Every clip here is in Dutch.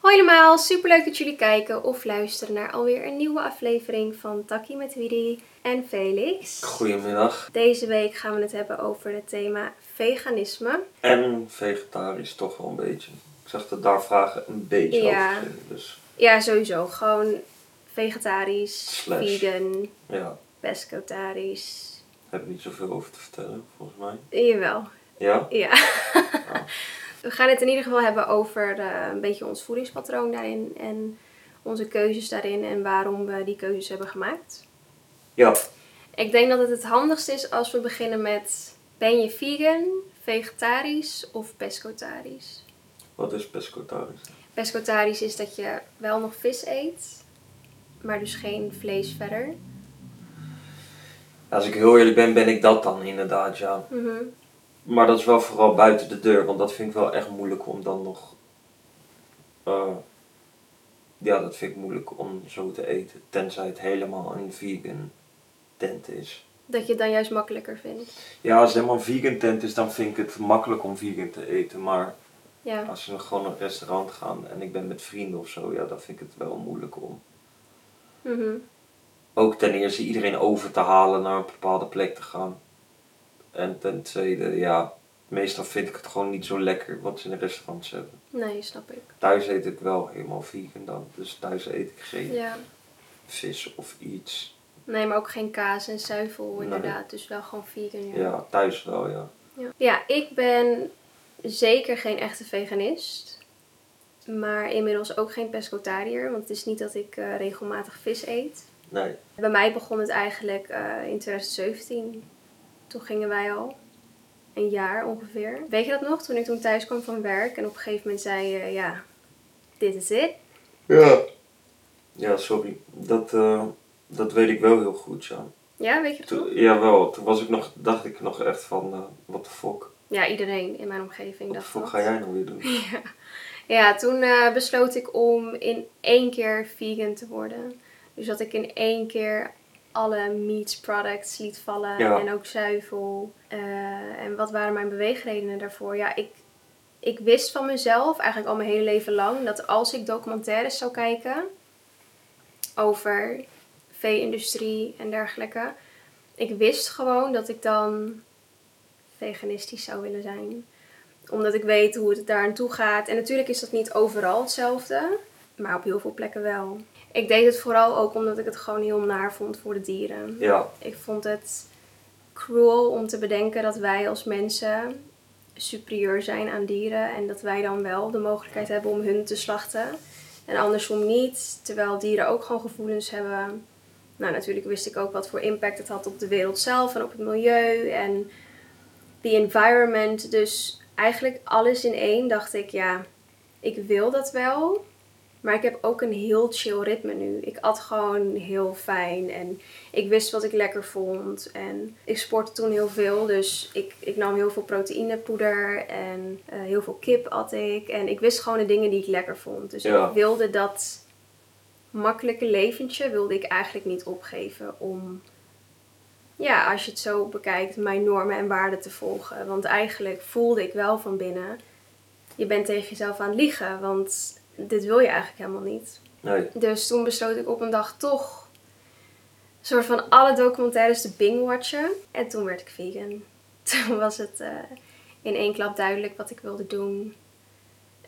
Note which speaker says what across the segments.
Speaker 1: Hoi allemaal, superleuk dat jullie kijken of luisteren naar alweer een nieuwe aflevering van Takkie met Widi en Felix.
Speaker 2: Goedemiddag.
Speaker 1: Deze week gaan we het hebben over het thema veganisme.
Speaker 2: En vegetarisch toch wel een beetje. Ik zag dat daar vragen een beetje
Speaker 1: Ja.
Speaker 2: over gingen. Dus
Speaker 1: Ja, sowieso. Gewoon vegetarisch,
Speaker 2: Slash.
Speaker 1: vegan,
Speaker 2: ja,
Speaker 1: pescotarisch.
Speaker 2: heb ik niet zoveel over te vertellen, volgens mij.
Speaker 1: Jawel,
Speaker 2: Ja?
Speaker 1: ja. we gaan het in ieder geval hebben over eh, een beetje ons voedingspatroon daarin en onze keuzes daarin en waarom we die keuzes hebben gemaakt.
Speaker 2: Ja.
Speaker 1: Ik denk dat het het handigst is als we beginnen met: ben je vegan, vegetarisch of pescotarisch?
Speaker 2: Wat is pescotarisch?
Speaker 1: Pescotarisch is dat je wel nog vis eet, maar dus geen vlees verder.
Speaker 2: Als ik heel eerlijk ben, ben ik dat dan inderdaad, ja.
Speaker 1: Mhm.
Speaker 2: Maar dat is wel vooral buiten de deur, want dat vind ik wel echt moeilijk om dan nog... eh, ja, dat vind ik moeilijk om zo te eten, tenzij het helemaal een vegan tent is.
Speaker 1: Dat je het dan juist makkelijker vindt.
Speaker 2: Ja, als het helemaal een vegan tent is, dan vind ik het makkelijk om vegan te eten, maar...
Speaker 1: Ja.
Speaker 2: Als we nog gewoon naar een restaurant gaan en ik ben met vrienden of zo, ja, dan vind ik het wel moeilijk om.
Speaker 1: Mhm.
Speaker 2: Ook ten eerste iedereen over te halen naar een bepaalde plek te gaan. En ten tweede, ja, meestal vind ik het gewoon niet zo lekker wat ze in de restaurants hebben.
Speaker 1: Nee, snap ik.
Speaker 2: Thuis eet ik wel helemaal vegan dan, dus thuis eet ik geen
Speaker 1: Ja.
Speaker 2: vis of iets.
Speaker 1: Nee, maar ook geen kaas en zuivel
Speaker 2: Nee.
Speaker 1: inderdaad. Dus wel gewoon vegan.
Speaker 2: Ja, thuis wel, ja.
Speaker 1: Ja. ja, ik ben zeker geen echte veganist. Maar inmiddels ook geen pescotariër. Want het is niet dat ik eh, regelmatig vis eet.
Speaker 2: Nee,
Speaker 1: Bij mij begon het eigenlijk eh, in 2017. Toen gingen wij al een jaar ongeveer. Weet je dat nog? Toen ik toen thuis kwam van werk en op een gegeven moment zei je, ja, dit is het.
Speaker 2: Ja. Ja, sorry. Dat, eh, dat weet ik wel heel goed, ja.
Speaker 1: Ja, weet je dat nog?
Speaker 2: Toen, jawel, toen was ik nog, dacht ik nog echt van, eh wat de fuck.
Speaker 1: Ja, iedereen in mijn omgeving
Speaker 2: Wat de
Speaker 1: dacht
Speaker 2: fuck
Speaker 1: dat.
Speaker 2: ga jij nou weer doen?
Speaker 1: Ja, toen eh, besloot ik om in één keer vegan te worden. Dus dat ik in één keer alle meat products liet vallen
Speaker 2: Ja.
Speaker 1: en ook zuivel. Eh, en wat waren mijn beweegredenen daarvoor? Ja, ik, ik wist van mezelf eigenlijk al mijn hele leven lang dat als ik documentaires zou kijken over vee-industrie en dergelijke, ik wist gewoon dat ik dan veganistisch zou willen zijn omdat ik weet hoe het daar aan toe gaat. En natuurlijk is dat niet overal hetzelfde, maar op heel veel plekken wel. Ik deed het vooral ook omdat ik het gewoon heel naar vond voor de dieren.
Speaker 2: Ja,
Speaker 1: Ik vond het cruel om te bedenken dat wij als mensen superieur zijn aan dieren en dat wij dan wel de mogelijkheid hebben om hun te slachten en andersom niet, terwijl dieren ook gewoon gevoelens hebben. Nou, natuurlijk wist ik ook wat voor impact het had op de wereld zelf en op het milieu en the environment. Dus eigenlijk alles in één dacht ik, ja, ik wil dat wel, maar ik heb ook een heel chill ritme nu. Ik at gewoon heel fijn en ik wist wat ik lekker vond. En ik sportte toen heel veel, dus ik, ik nam heel veel proteïnepoeder en eh, heel veel kip at ik. En ik wist gewoon de dingen die ik lekker vond. Dus
Speaker 2: Ja.
Speaker 1: ik wilde dat makkelijke leventje wilde ik eigenlijk niet opgeven om... Ja, als je het zo bekijkt, mijn normen en waarden te volgen. Want eigenlijk voelde ik wel van binnen, je bent tegen jezelf aan het liegen, want dit wil je eigenlijk helemaal niet.
Speaker 2: nee.
Speaker 1: Dus toen besloot ik op een dag toch een soort van alle documentaires te bingwatchen. En toen werd ik vegan. Toen was het eh, in één klap duidelijk wat ik wilde doen.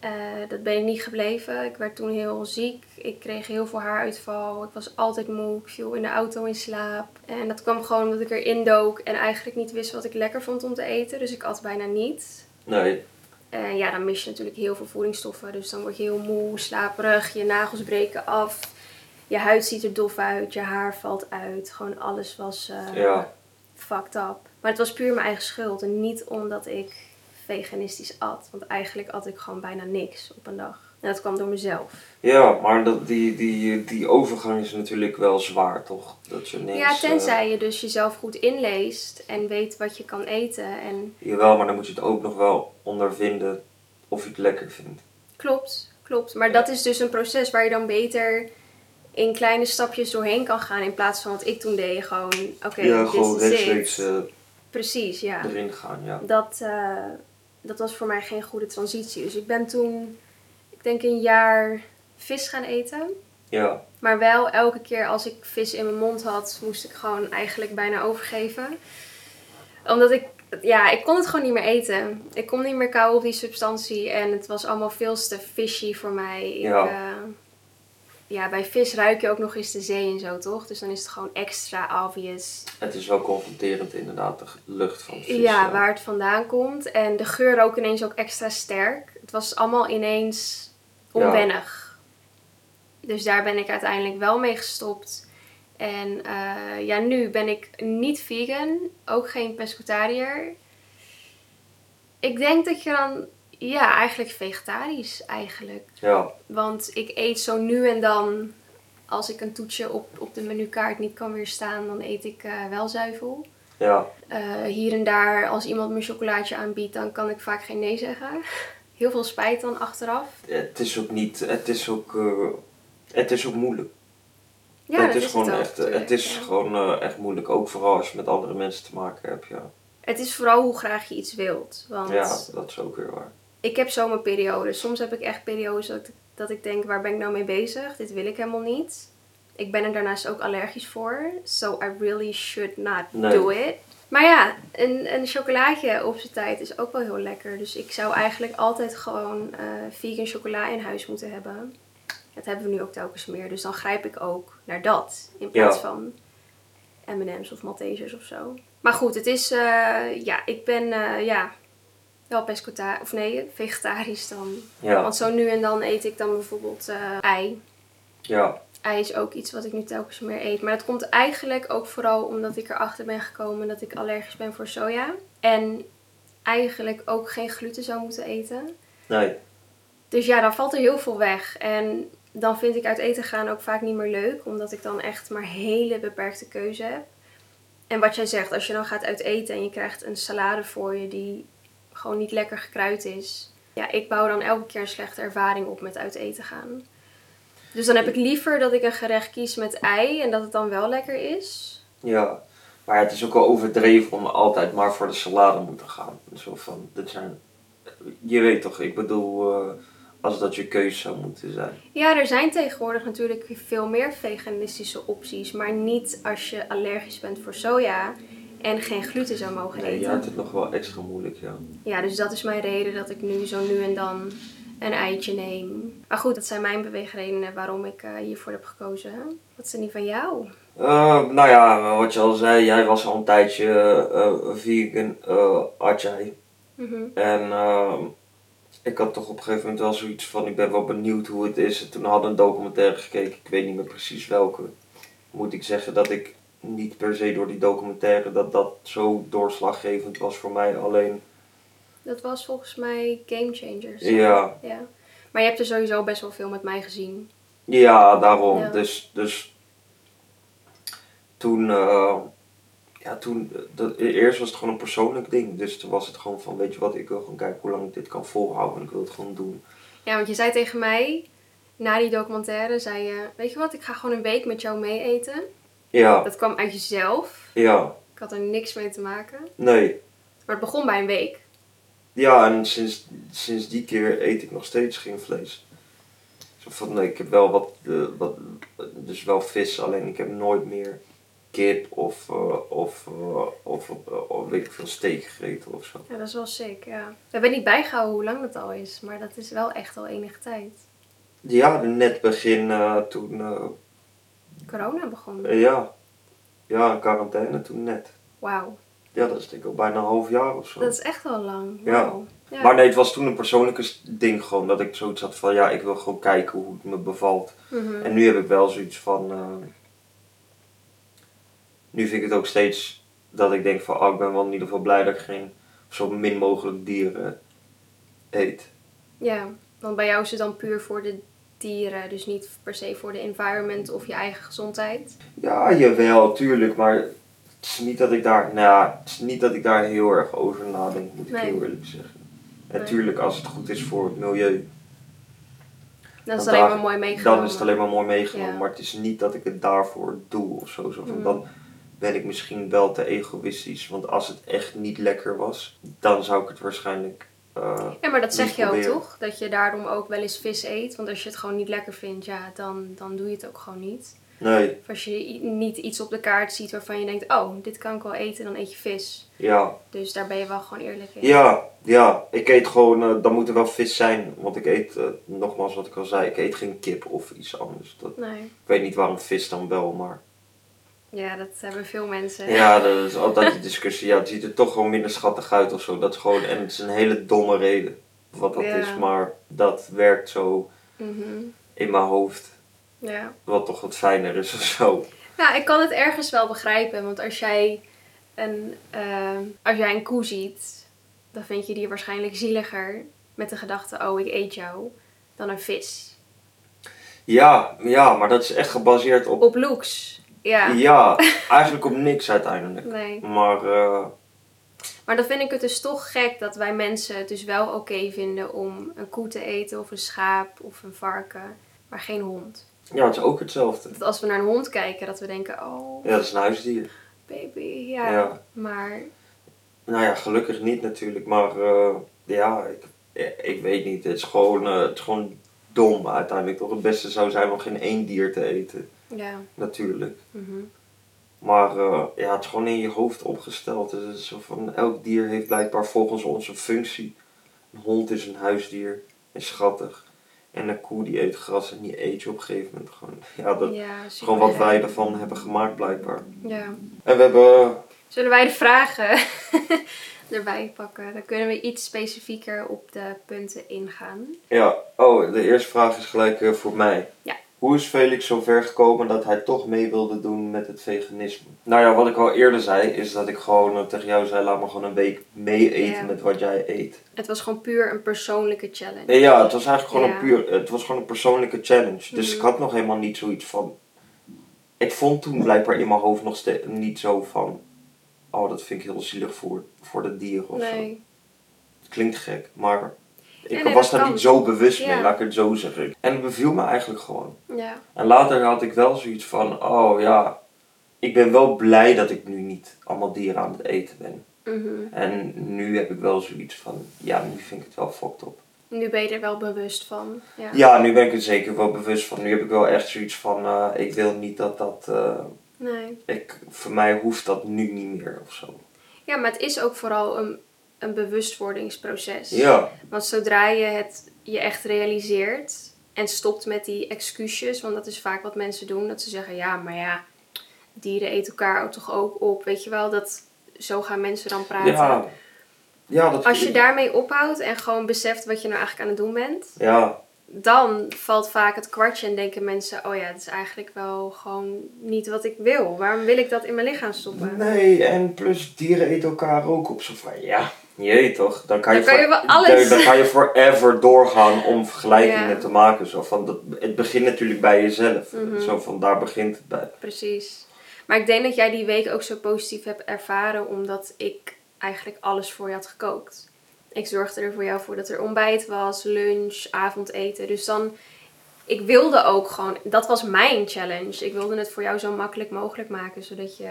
Speaker 1: Eh, dat ben ik niet gebleven. Ik werd toen heel ziek. Ik kreeg heel veel haaruitval. Ik was altijd moe. Ik viel in de auto in slaap. En dat kwam gewoon omdat ik erin dook en eigenlijk niet wist wat ik lekker vond om te eten. Dus ik at bijna niet.
Speaker 2: Nee.
Speaker 1: En ja, dan mis je natuurlijk heel veel voedingsstoffen. Dus dan word je heel moe, slaperig, je nagels breken af. Je huid ziet er dof uit, je haar valt uit. Gewoon alles was eh,
Speaker 2: Ja.
Speaker 1: fucked up. Maar het was puur mijn eigen schuld. En niet omdat ik veganistisch at. Want eigenlijk at ik gewoon bijna niks op een dag. En dat kwam door mezelf.
Speaker 2: Ja, maar dat, die, die, die overgang is natuurlijk wel zwaar, toch? Dat je niks...
Speaker 1: ja, tenzij je dus jezelf goed inleest en weet wat je kan eten. En
Speaker 2: eh, jawel, maar dan moet je het ook nog wel ondervinden of je het lekker vindt.
Speaker 1: Klopt, klopt. Maar dat is dus een proces waar je dan beter in kleine stapjes doorheen kan gaan. In plaats van wat ik toen deed, gewoon oké,
Speaker 2: ja,
Speaker 1: dit
Speaker 2: gewoon
Speaker 1: is
Speaker 2: rechtstreeks
Speaker 1: het.
Speaker 2: eh,
Speaker 1: Precies, ja.
Speaker 2: erin gaan, ja.
Speaker 1: Dat, eh, dat was voor mij geen goede transitie. Dus ik ben toen, ik denk een jaar vis gaan eten.
Speaker 2: Ja,
Speaker 1: Maar wel elke keer als ik vis in mijn mond had, moest ik gewoon eigenlijk bijna overgeven. Omdat ik, ja, ik kon het gewoon niet meer eten. Ik kon niet meer kauwen op die substantie en het was allemaal veel te fishy voor mij. Ik,
Speaker 2: Ja.
Speaker 1: eh, ja, bij vis ruik je ook nog eens de zee en zo, toch? Dus dan is het gewoon extra obvious
Speaker 2: het is wel confronterend inderdaad, de lucht van het vis.
Speaker 1: ja, waar het vandaan komt. En de geur ook ineens ook extra sterk. Het was allemaal ineens
Speaker 2: Ja.
Speaker 1: onwennig. Dus daar ben ik uiteindelijk wel mee gestopt. En eh, ja, nu ben ik niet vegan, ook geen pescatariër. Ik denk dat je dan, ja, eigenlijk vegetarisch eigenlijk.
Speaker 2: Ja,
Speaker 1: Want ik eet zo nu en dan, als ik een toetje op, op de menukaart niet kan weerstaan, dan eet ik eh, wel zuivel.
Speaker 2: ja,
Speaker 1: Eh, hier en daar, als iemand me een chocolaatje aanbiedt, dan kan ik vaak geen nee zeggen. Heel veel spijt dan achteraf.
Speaker 2: het is ook niet, het is ook, eh, het is ook moeilijk.
Speaker 1: Ja,
Speaker 2: het
Speaker 1: dat
Speaker 2: is, gewoon
Speaker 1: ook,
Speaker 2: echt, eh,
Speaker 1: natuurlijk,
Speaker 2: het is
Speaker 1: ja.
Speaker 2: gewoon eh, echt moeilijk, ook vooral als je met andere mensen te maken hebt, ja.
Speaker 1: Het is vooral hoe graag je iets wilt. Want
Speaker 2: Ja, dat is ook weer waar.
Speaker 1: ik heb zo mijn periodes. Soms heb ik echt periodes dat, ik- dat ik denk, waar ben ik nou mee bezig? Dit wil ik helemaal niet. Ik ben er daarnaast ook allergisch voor. So I really should not
Speaker 2: Nee.
Speaker 1: do it. Maar ja, een, een chocolaatje op zijn tijd is ook wel heel lekker. Dus ik zou eigenlijk altijd gewoon eh, vegan chocola in huis moeten hebben. Dat hebben we nu ook telkens meer. Dus dan grijp ik ook naar dat. In plaats
Speaker 2: Ja.
Speaker 1: van M&M's of Maltesers of zo. Maar goed, het is... eh, ja, ik ben... eh, ja, wel pescatarisch, of nee, vegetarisch dan.
Speaker 2: Ja,
Speaker 1: Want zo nu en dan eet ik dan bijvoorbeeld eh, ei.
Speaker 2: ja,
Speaker 1: Ei is ook iets wat ik nu telkens meer eet. Maar dat komt eigenlijk ook vooral omdat ik erachter ben gekomen dat ik allergisch ben voor soja. En eigenlijk ook geen gluten zou moeten eten.
Speaker 2: nee,
Speaker 1: Dus ja, dan valt er heel veel weg. En dan vind ik uit eten gaan ook vaak niet meer leuk, omdat ik dan echt maar hele beperkte keuze heb. En wat jij zegt, als je dan gaat uit eten en je krijgt een salade voor je die gewoon niet lekker gekruid is. Ja, ik bouw dan elke keer een slechte ervaring op met uit eten gaan. Dus dan heb ik liever dat ik een gerecht kies met ei en dat het dan wel lekker is.
Speaker 2: ja. Maar het is ook wel overdreven om altijd maar voor de salade moeten gaan. Zo van, dit zijn, je weet toch, ik bedoel, eh, als dat je keuze zou moeten zijn.
Speaker 1: Ja, er zijn tegenwoordig natuurlijk veel meer veganistische opties, maar niet als je allergisch bent voor soja en geen gluten zou mogen
Speaker 2: Nee, je
Speaker 1: eten.
Speaker 2: had het nog wel extra moeilijk, ja.
Speaker 1: Ja, dus dat is mijn reden dat ik nu zo nu en dan een eitje neem. Maar goed, dat zijn mijn beweegredenen waarom ik eh, hiervoor heb gekozen. Wat zijn die van jou?
Speaker 2: Eh, nou ja, wat je al zei, jij was al een tijdje eh, vegan, eh, had jij.
Speaker 1: Mhm.
Speaker 2: En ehm, ik had toch op een gegeven moment wel zoiets van, ik ben wel benieuwd hoe het is. En toen hadden we een documentaire gekeken, ik weet niet meer precies welke. Moet ik zeggen dat ik niet per se door die documentaire, dat dat zo doorslaggevend was voor mij. Alleen,
Speaker 1: Dat was volgens mij Game Changers.
Speaker 2: ja,
Speaker 1: ja. Maar je hebt er sowieso best wel veel met mij gezien.
Speaker 2: ja daarom.
Speaker 1: Ja.
Speaker 2: Dus, dus toen, eh, ja, toen, eh, dat, eerst was het gewoon een persoonlijk ding. Dus toen was het gewoon van, weet je wat, ik wil gewoon kijken hoe lang ik dit kan volhouden. En ik wil het gewoon doen.
Speaker 1: Ja, want je zei tegen mij, na die documentaire, zei je... Weet je wat, ik ga gewoon een week met jou mee eten.
Speaker 2: Ja,
Speaker 1: Dat kwam uit jezelf.
Speaker 2: ja,
Speaker 1: Ik had er niks mee te maken.
Speaker 2: nee.
Speaker 1: Maar het begon bij een week.
Speaker 2: Ja, en sinds, sinds die keer eet ik nog steeds geen vlees. Zo van, nee, ik heb wel wat, eh, wat, dus wel vis, alleen ik heb nooit meer kip of, eh, of, eh, of, eh, of weet ik veel, steak gegeten of zo.
Speaker 1: Ja, dat is wel sick, ja. We hebben niet bijgehouden hoe lang dat al is. Maar dat is wel echt al enige tijd.
Speaker 2: Ja, net begin eh, toen, eh,
Speaker 1: Corona begon.
Speaker 2: ja, ja, in quarantaine toen net.
Speaker 1: Wauw,
Speaker 2: Ja, dat is denk ik al bijna een half jaar of zo.
Speaker 1: dat is echt wel lang.
Speaker 2: Ja.
Speaker 1: Wauw. Ja.
Speaker 2: Maar nee, het was toen een persoonlijke s- ding gewoon, dat ik zoiets had van, ja, ik wil gewoon kijken hoe het me bevalt.
Speaker 1: Mhm.
Speaker 2: En nu heb ik wel zoiets van. eh, nu vind ik het ook steeds dat ik denk van, oh, ik ben wel in ieder geval blij dat ik geen zo min mogelijk dieren eet.
Speaker 1: ja, want bij jou is het dan puur voor de dieren. Dus niet per se voor de environment of je eigen gezondheid.
Speaker 2: Ja, jawel, tuurlijk, maar het is niet dat ik daar, nou, het is niet dat ik daar heel erg over nadenk, moet ik
Speaker 1: Nee.
Speaker 2: heel eerlijk zeggen.
Speaker 1: Nee.
Speaker 2: Natuurlijk, als het goed is voor het milieu,
Speaker 1: Dat is
Speaker 2: Want
Speaker 1: alleen
Speaker 2: daar-
Speaker 1: maar mooi meegenomen.
Speaker 2: dan is het alleen maar mooi meegenomen.
Speaker 1: Ja.
Speaker 2: Maar het is niet dat ik het daarvoor doe of zo. zo van,
Speaker 1: Mm.
Speaker 2: Dan ben ik misschien wel te egoïstisch. Want als het echt niet lekker was, dan zou ik het waarschijnlijk eh,
Speaker 1: Ja, maar dat zeg
Speaker 2: Niet
Speaker 1: je ook
Speaker 2: proberen.
Speaker 1: toch? Dat je daarom ook wel eens vis eet. Want als je het gewoon niet lekker vindt, ja, dan, dan doe je het ook gewoon niet.
Speaker 2: nee,
Speaker 1: Of als je i- niet iets op de kaart ziet waarvan je denkt, oh, dit kan ik wel eten, dan eet je vis.
Speaker 2: ja.
Speaker 1: Dus daar ben je wel gewoon eerlijk in.
Speaker 2: Ja, ja. Ik eet gewoon, eh, dan moet er wel vis zijn. Want ik eet, eh, nogmaals wat ik al zei, ik eet geen kip of iets anders. Dat,
Speaker 1: Nee.
Speaker 2: ik weet niet waarom vis dan wel, maar...
Speaker 1: Ja, dat hebben veel mensen.
Speaker 2: Ja, dat is altijd die discussie. Ja, het ziet er toch gewoon minder schattig uit of zo. Dat is gewoon, en het is een hele domme reden wat dat
Speaker 1: Ja.
Speaker 2: is. Maar dat werkt zo
Speaker 1: Mhm.
Speaker 2: in mijn hoofd.
Speaker 1: ja.
Speaker 2: Wat toch wat fijner is of zo.
Speaker 1: Ja, ik kan het ergens wel begrijpen. Want als jij een, ehm, als jij een koe ziet, dan vind je die waarschijnlijk zieliger met de gedachte, oh, ik eet jou, dan een vis.
Speaker 2: Ja, ja, maar dat is echt gebaseerd op...
Speaker 1: Op looks. Ja.
Speaker 2: Ja, eigenlijk op niks uiteindelijk.
Speaker 1: Nee.
Speaker 2: Maar eh,
Speaker 1: Maar dan vind ik het dus toch gek dat wij mensen het dus wel oké vinden om een koe te eten of een schaap of een varken, maar geen hond.
Speaker 2: ja, het is ook hetzelfde.
Speaker 1: Dat als we naar een hond kijken, dat we denken, oh,
Speaker 2: Ja, dat is een huisdier.
Speaker 1: baby, ja.
Speaker 2: Ja.
Speaker 1: Maar
Speaker 2: Nou ja, gelukkig niet natuurlijk, maar eh, ja, ik, ik weet niet. Het is, gewoon, eh, het is gewoon dom uiteindelijk. Toch het beste zou zijn om geen één dier te eten,
Speaker 1: ja.
Speaker 2: natuurlijk.
Speaker 1: mhm.
Speaker 2: Maar eh, ja, het is gewoon in je hoofd opgesteld. Dus het is zo van, elk dier heeft blijkbaar volgens ons een functie. Een hond is een huisdier, is schattig. En een koe die eet gras en die eet je op een gegeven moment gewoon. Ja, dat
Speaker 1: ja
Speaker 2: is gewoon wat
Speaker 1: super.
Speaker 2: wij ervan hebben gemaakt blijkbaar.
Speaker 1: Ja.
Speaker 2: En we hebben...
Speaker 1: Zullen wij de vragen erbij pakken? Dan kunnen we iets specifieker op de punten ingaan.
Speaker 2: Ja, oh, de eerste vraag is gelijk eh, voor mij.
Speaker 1: Ja.
Speaker 2: Hoe is Felix zo ver gekomen dat hij toch mee wilde doen met het veganisme? Nou ja, wat ik al eerder zei, is dat ik gewoon eh, tegen jou zei, laat me gewoon een week mee eten
Speaker 1: Ja.
Speaker 2: met wat jij eet.
Speaker 1: Het was gewoon puur een persoonlijke challenge.
Speaker 2: En ja, het was eigenlijk gewoon een
Speaker 1: Ja.
Speaker 2: puur, het was gewoon een persoonlijke challenge. Dus
Speaker 1: Mhm.
Speaker 2: ik had nog helemaal niet zoiets van, ik vond toen blijkbaar in mijn hoofd nog steeds niet zo van, oh dat vind ik heel zielig voor, voor de dieren of zo.
Speaker 1: Nee.
Speaker 2: Klinkt gek, maar ik
Speaker 1: Ja, nee,
Speaker 2: was
Speaker 1: dat
Speaker 2: daar
Speaker 1: kan.
Speaker 2: niet zo bewust
Speaker 1: Ja.
Speaker 2: mee, laat ik het zo zeggen. En het beviel me eigenlijk gewoon.
Speaker 1: Ja.
Speaker 2: En later had ik wel zoiets van, oh ja, ik ben wel blij dat ik nu niet allemaal dieren aan het eten ben.
Speaker 1: Mhm.
Speaker 2: En nu heb ik wel zoiets van, ja, nu vind ik het wel fucked op.
Speaker 1: Nu ben je er wel bewust van. Ja.
Speaker 2: Ja, nu ben ik er zeker wel bewust van. Nu heb ik wel echt zoiets van, eh, ik wil niet dat dat, eh,
Speaker 1: Nee.
Speaker 2: ik, voor mij hoeft dat nu niet meer of zo.
Speaker 1: ja, maar het is ook vooral een, een bewustwordingsproces.
Speaker 2: Ja,
Speaker 1: Want zodra je het je echt realiseert en stopt met die excuses, want dat is vaak wat mensen doen, dat ze zeggen, ja, maar ja, dieren eten elkaar ook toch ook op, weet je wel, dat zo gaan mensen dan praten.
Speaker 2: ja. Ja, dat
Speaker 1: Als je daarmee ophoudt en gewoon beseft wat je nou eigenlijk aan het doen bent,
Speaker 2: Ja,
Speaker 1: dan valt vaak het kwartje en denken mensen, oh ja, het is eigenlijk wel gewoon niet wat ik wil. Waarom wil ik dat in mijn lichaam stoppen?
Speaker 2: Nee, en plus dieren eten elkaar ook op. Zo van, ja, jee toch. Dan kan je,
Speaker 1: Dan kan je
Speaker 2: voor-
Speaker 1: wel alles.
Speaker 2: Dan, dan kan je forever doorgaan om vergelijkingen
Speaker 1: Ja.
Speaker 2: te maken. Zo van, dat, het begint natuurlijk bij jezelf.
Speaker 1: Mhm.
Speaker 2: Zo van, daar begint het bij.
Speaker 1: Precies. Maar ik denk dat jij die week ook zo positief hebt ervaren, omdat ik eigenlijk alles voor je had gekookt. Ik zorgde er voor jou voor dat er ontbijt was, lunch, avondeten. Dus dan, ik wilde ook gewoon, dat was mijn challenge. Ik wilde het voor jou zo makkelijk mogelijk maken, zodat je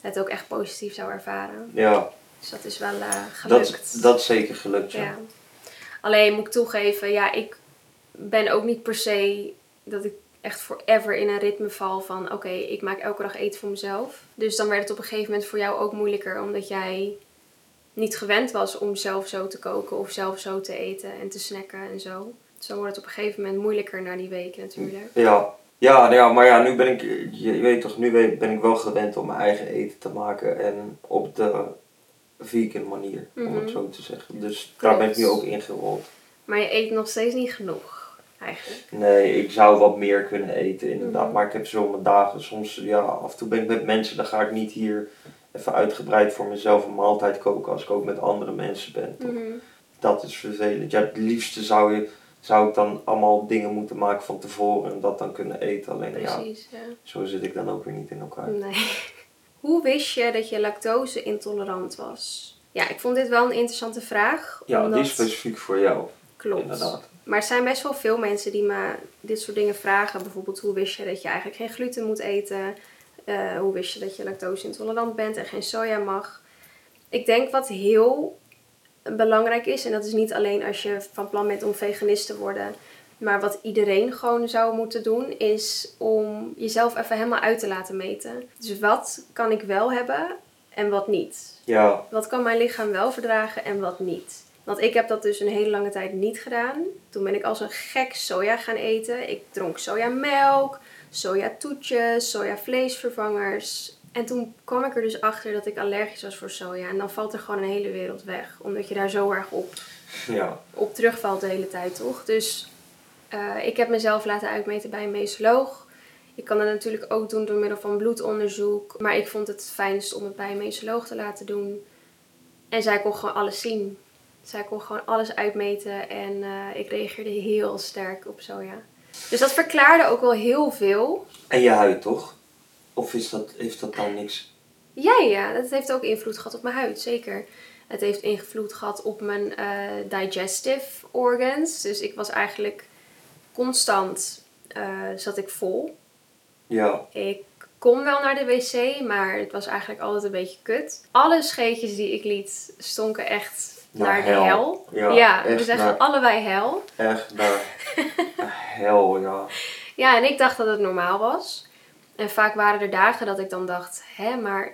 Speaker 1: het ook echt positief zou ervaren.
Speaker 2: Ja,
Speaker 1: Dus dat is wel eh,
Speaker 2: dat,
Speaker 1: gelukt.
Speaker 2: dat is zeker gelukt. Ja.
Speaker 1: Ja. Alleen moet ik toegeven, ja, ik ben ook niet per se dat ik echt forever in een ritme val van oké, ik maak elke dag eten voor mezelf. Dus dan werd het op een gegeven moment voor jou ook moeilijker omdat jij niet gewend was om zelf zo te koken of zelf zo te eten en te snacken en zo. Zo wordt het op een gegeven moment moeilijker na die week natuurlijk.
Speaker 2: Ja. Ja, nou ja, maar ja, nu ben ik, je je weet toch, nu weet- ben ik wel gewend om mijn eigen eten te maken en op de vegan manier, om
Speaker 1: Mhm.
Speaker 2: het zo te zeggen. Dus daar ben ik nu
Speaker 1: Klopt.
Speaker 2: ook ingerold.
Speaker 1: Maar je eet nog steeds niet genoeg eigenlijk.
Speaker 2: Nee, ik zou wat meer kunnen eten inderdaad.
Speaker 1: Mhm.
Speaker 2: Maar ik heb zo mijn dagen. Soms, ja, af en toe ben ik met mensen. Dan ga ik niet hier even uitgebreid voor mezelf een maaltijd koken. Als ik ook met andere mensen ben. toch?
Speaker 1: Mhm.
Speaker 2: Dat is vervelend. Ja, het liefste zou, je, zou ik dan allemaal dingen moeten maken van tevoren. En dat dan kunnen eten. Alleen ja,
Speaker 1: Precies, Mm, ja.
Speaker 2: zo zit ik dan ook weer niet in elkaar.
Speaker 1: Nee. Hoe wist je dat je lactose intolerant was? Ja, ik vond dit wel een interessante vraag.
Speaker 2: Ja,
Speaker 1: omdat...
Speaker 2: die is specifiek voor jou.
Speaker 1: Klopt.
Speaker 2: Inderdaad.
Speaker 1: Maar er zijn best wel veel mensen die me dit soort dingen vragen. Bijvoorbeeld, hoe wist je dat je eigenlijk geen gluten moet eten? Eh, hoe wist je dat je lactose intolerant bent en geen soja mag? Ik denk wat heel belangrijk is. En dat is niet alleen als je van plan bent om veganist te worden. Maar wat iedereen gewoon zou moeten doen, is om jezelf even helemaal uit te laten meten. Dus wat kan ik wel hebben en wat niet?
Speaker 2: Ja,
Speaker 1: Wat kan mijn lichaam wel verdragen en wat niet? Want ik heb dat dus een hele lange tijd niet gedaan. Toen ben ik als een gek soja gaan eten. Ik dronk sojamelk, sojatoetjes, sojavleesvervangers. En toen kwam ik er dus achter dat ik allergisch was voor soja. En dan valt er gewoon een hele wereld weg. Omdat je daar zo erg op
Speaker 2: ja,
Speaker 1: op terugvalt de hele tijd, toch? Dus eh, ik heb mezelf laten uitmeten bij een mesoloog. Ik kan dat natuurlijk ook doen door middel van bloedonderzoek. Maar ik vond het fijnst om het bij een mesoloog te laten doen. En zij kon gewoon alles zien. Zij kon gewoon alles uitmeten en eh, ik reageerde heel sterk op soja. Dus dat verklaarde ook wel heel veel.
Speaker 2: en je huid toch? Of is dat, heeft dat dan niks?
Speaker 1: Ja, ja, dat heeft ook invloed gehad op mijn huid, zeker. Het heeft invloed gehad op mijn eh, digestive organs. Dus ik was eigenlijk constant eh, zat ik vol.
Speaker 2: Ja,
Speaker 1: Ik kon wel naar de wc, maar het was eigenlijk altijd een beetje kut. Alle scheetjes die ik liet stonken echt
Speaker 2: Naar
Speaker 1: naar,
Speaker 2: hel.
Speaker 1: de hel.
Speaker 2: Ja,
Speaker 1: we
Speaker 2: echt
Speaker 1: zeggen
Speaker 2: naar-
Speaker 1: allebei hel.
Speaker 2: echt naar hel, ja.
Speaker 1: Ja, en ik dacht dat het normaal was. En vaak waren er dagen dat ik dan dacht, hè, maar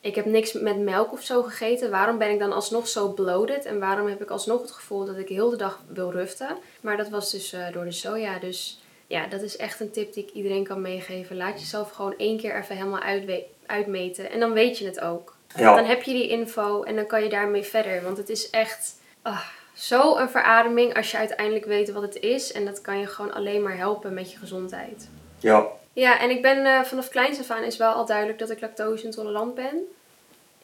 Speaker 1: ik heb niks met melk of zo gegeten. Waarom ben ik dan alsnog zo bloated? En waarom heb ik alsnog het gevoel dat ik heel de dag wil ruften? Maar dat was dus eh, door de soja. Dus ja, dat is echt een tip die ik iedereen kan meegeven. Laat jezelf gewoon één keer even helemaal uitwe- uitmeten. En dan weet je het ook.
Speaker 2: Ja.
Speaker 1: Dan heb je die info en dan kan je daarmee verder. Want het is echt ah, zo een verademing als je uiteindelijk weet wat het is. En dat kan je gewoon alleen maar helpen met je gezondheid.
Speaker 2: Ja,
Speaker 1: Ja, en ik ben eh, vanaf kleins af aan is wel al duidelijk dat ik lactose intolerant ben.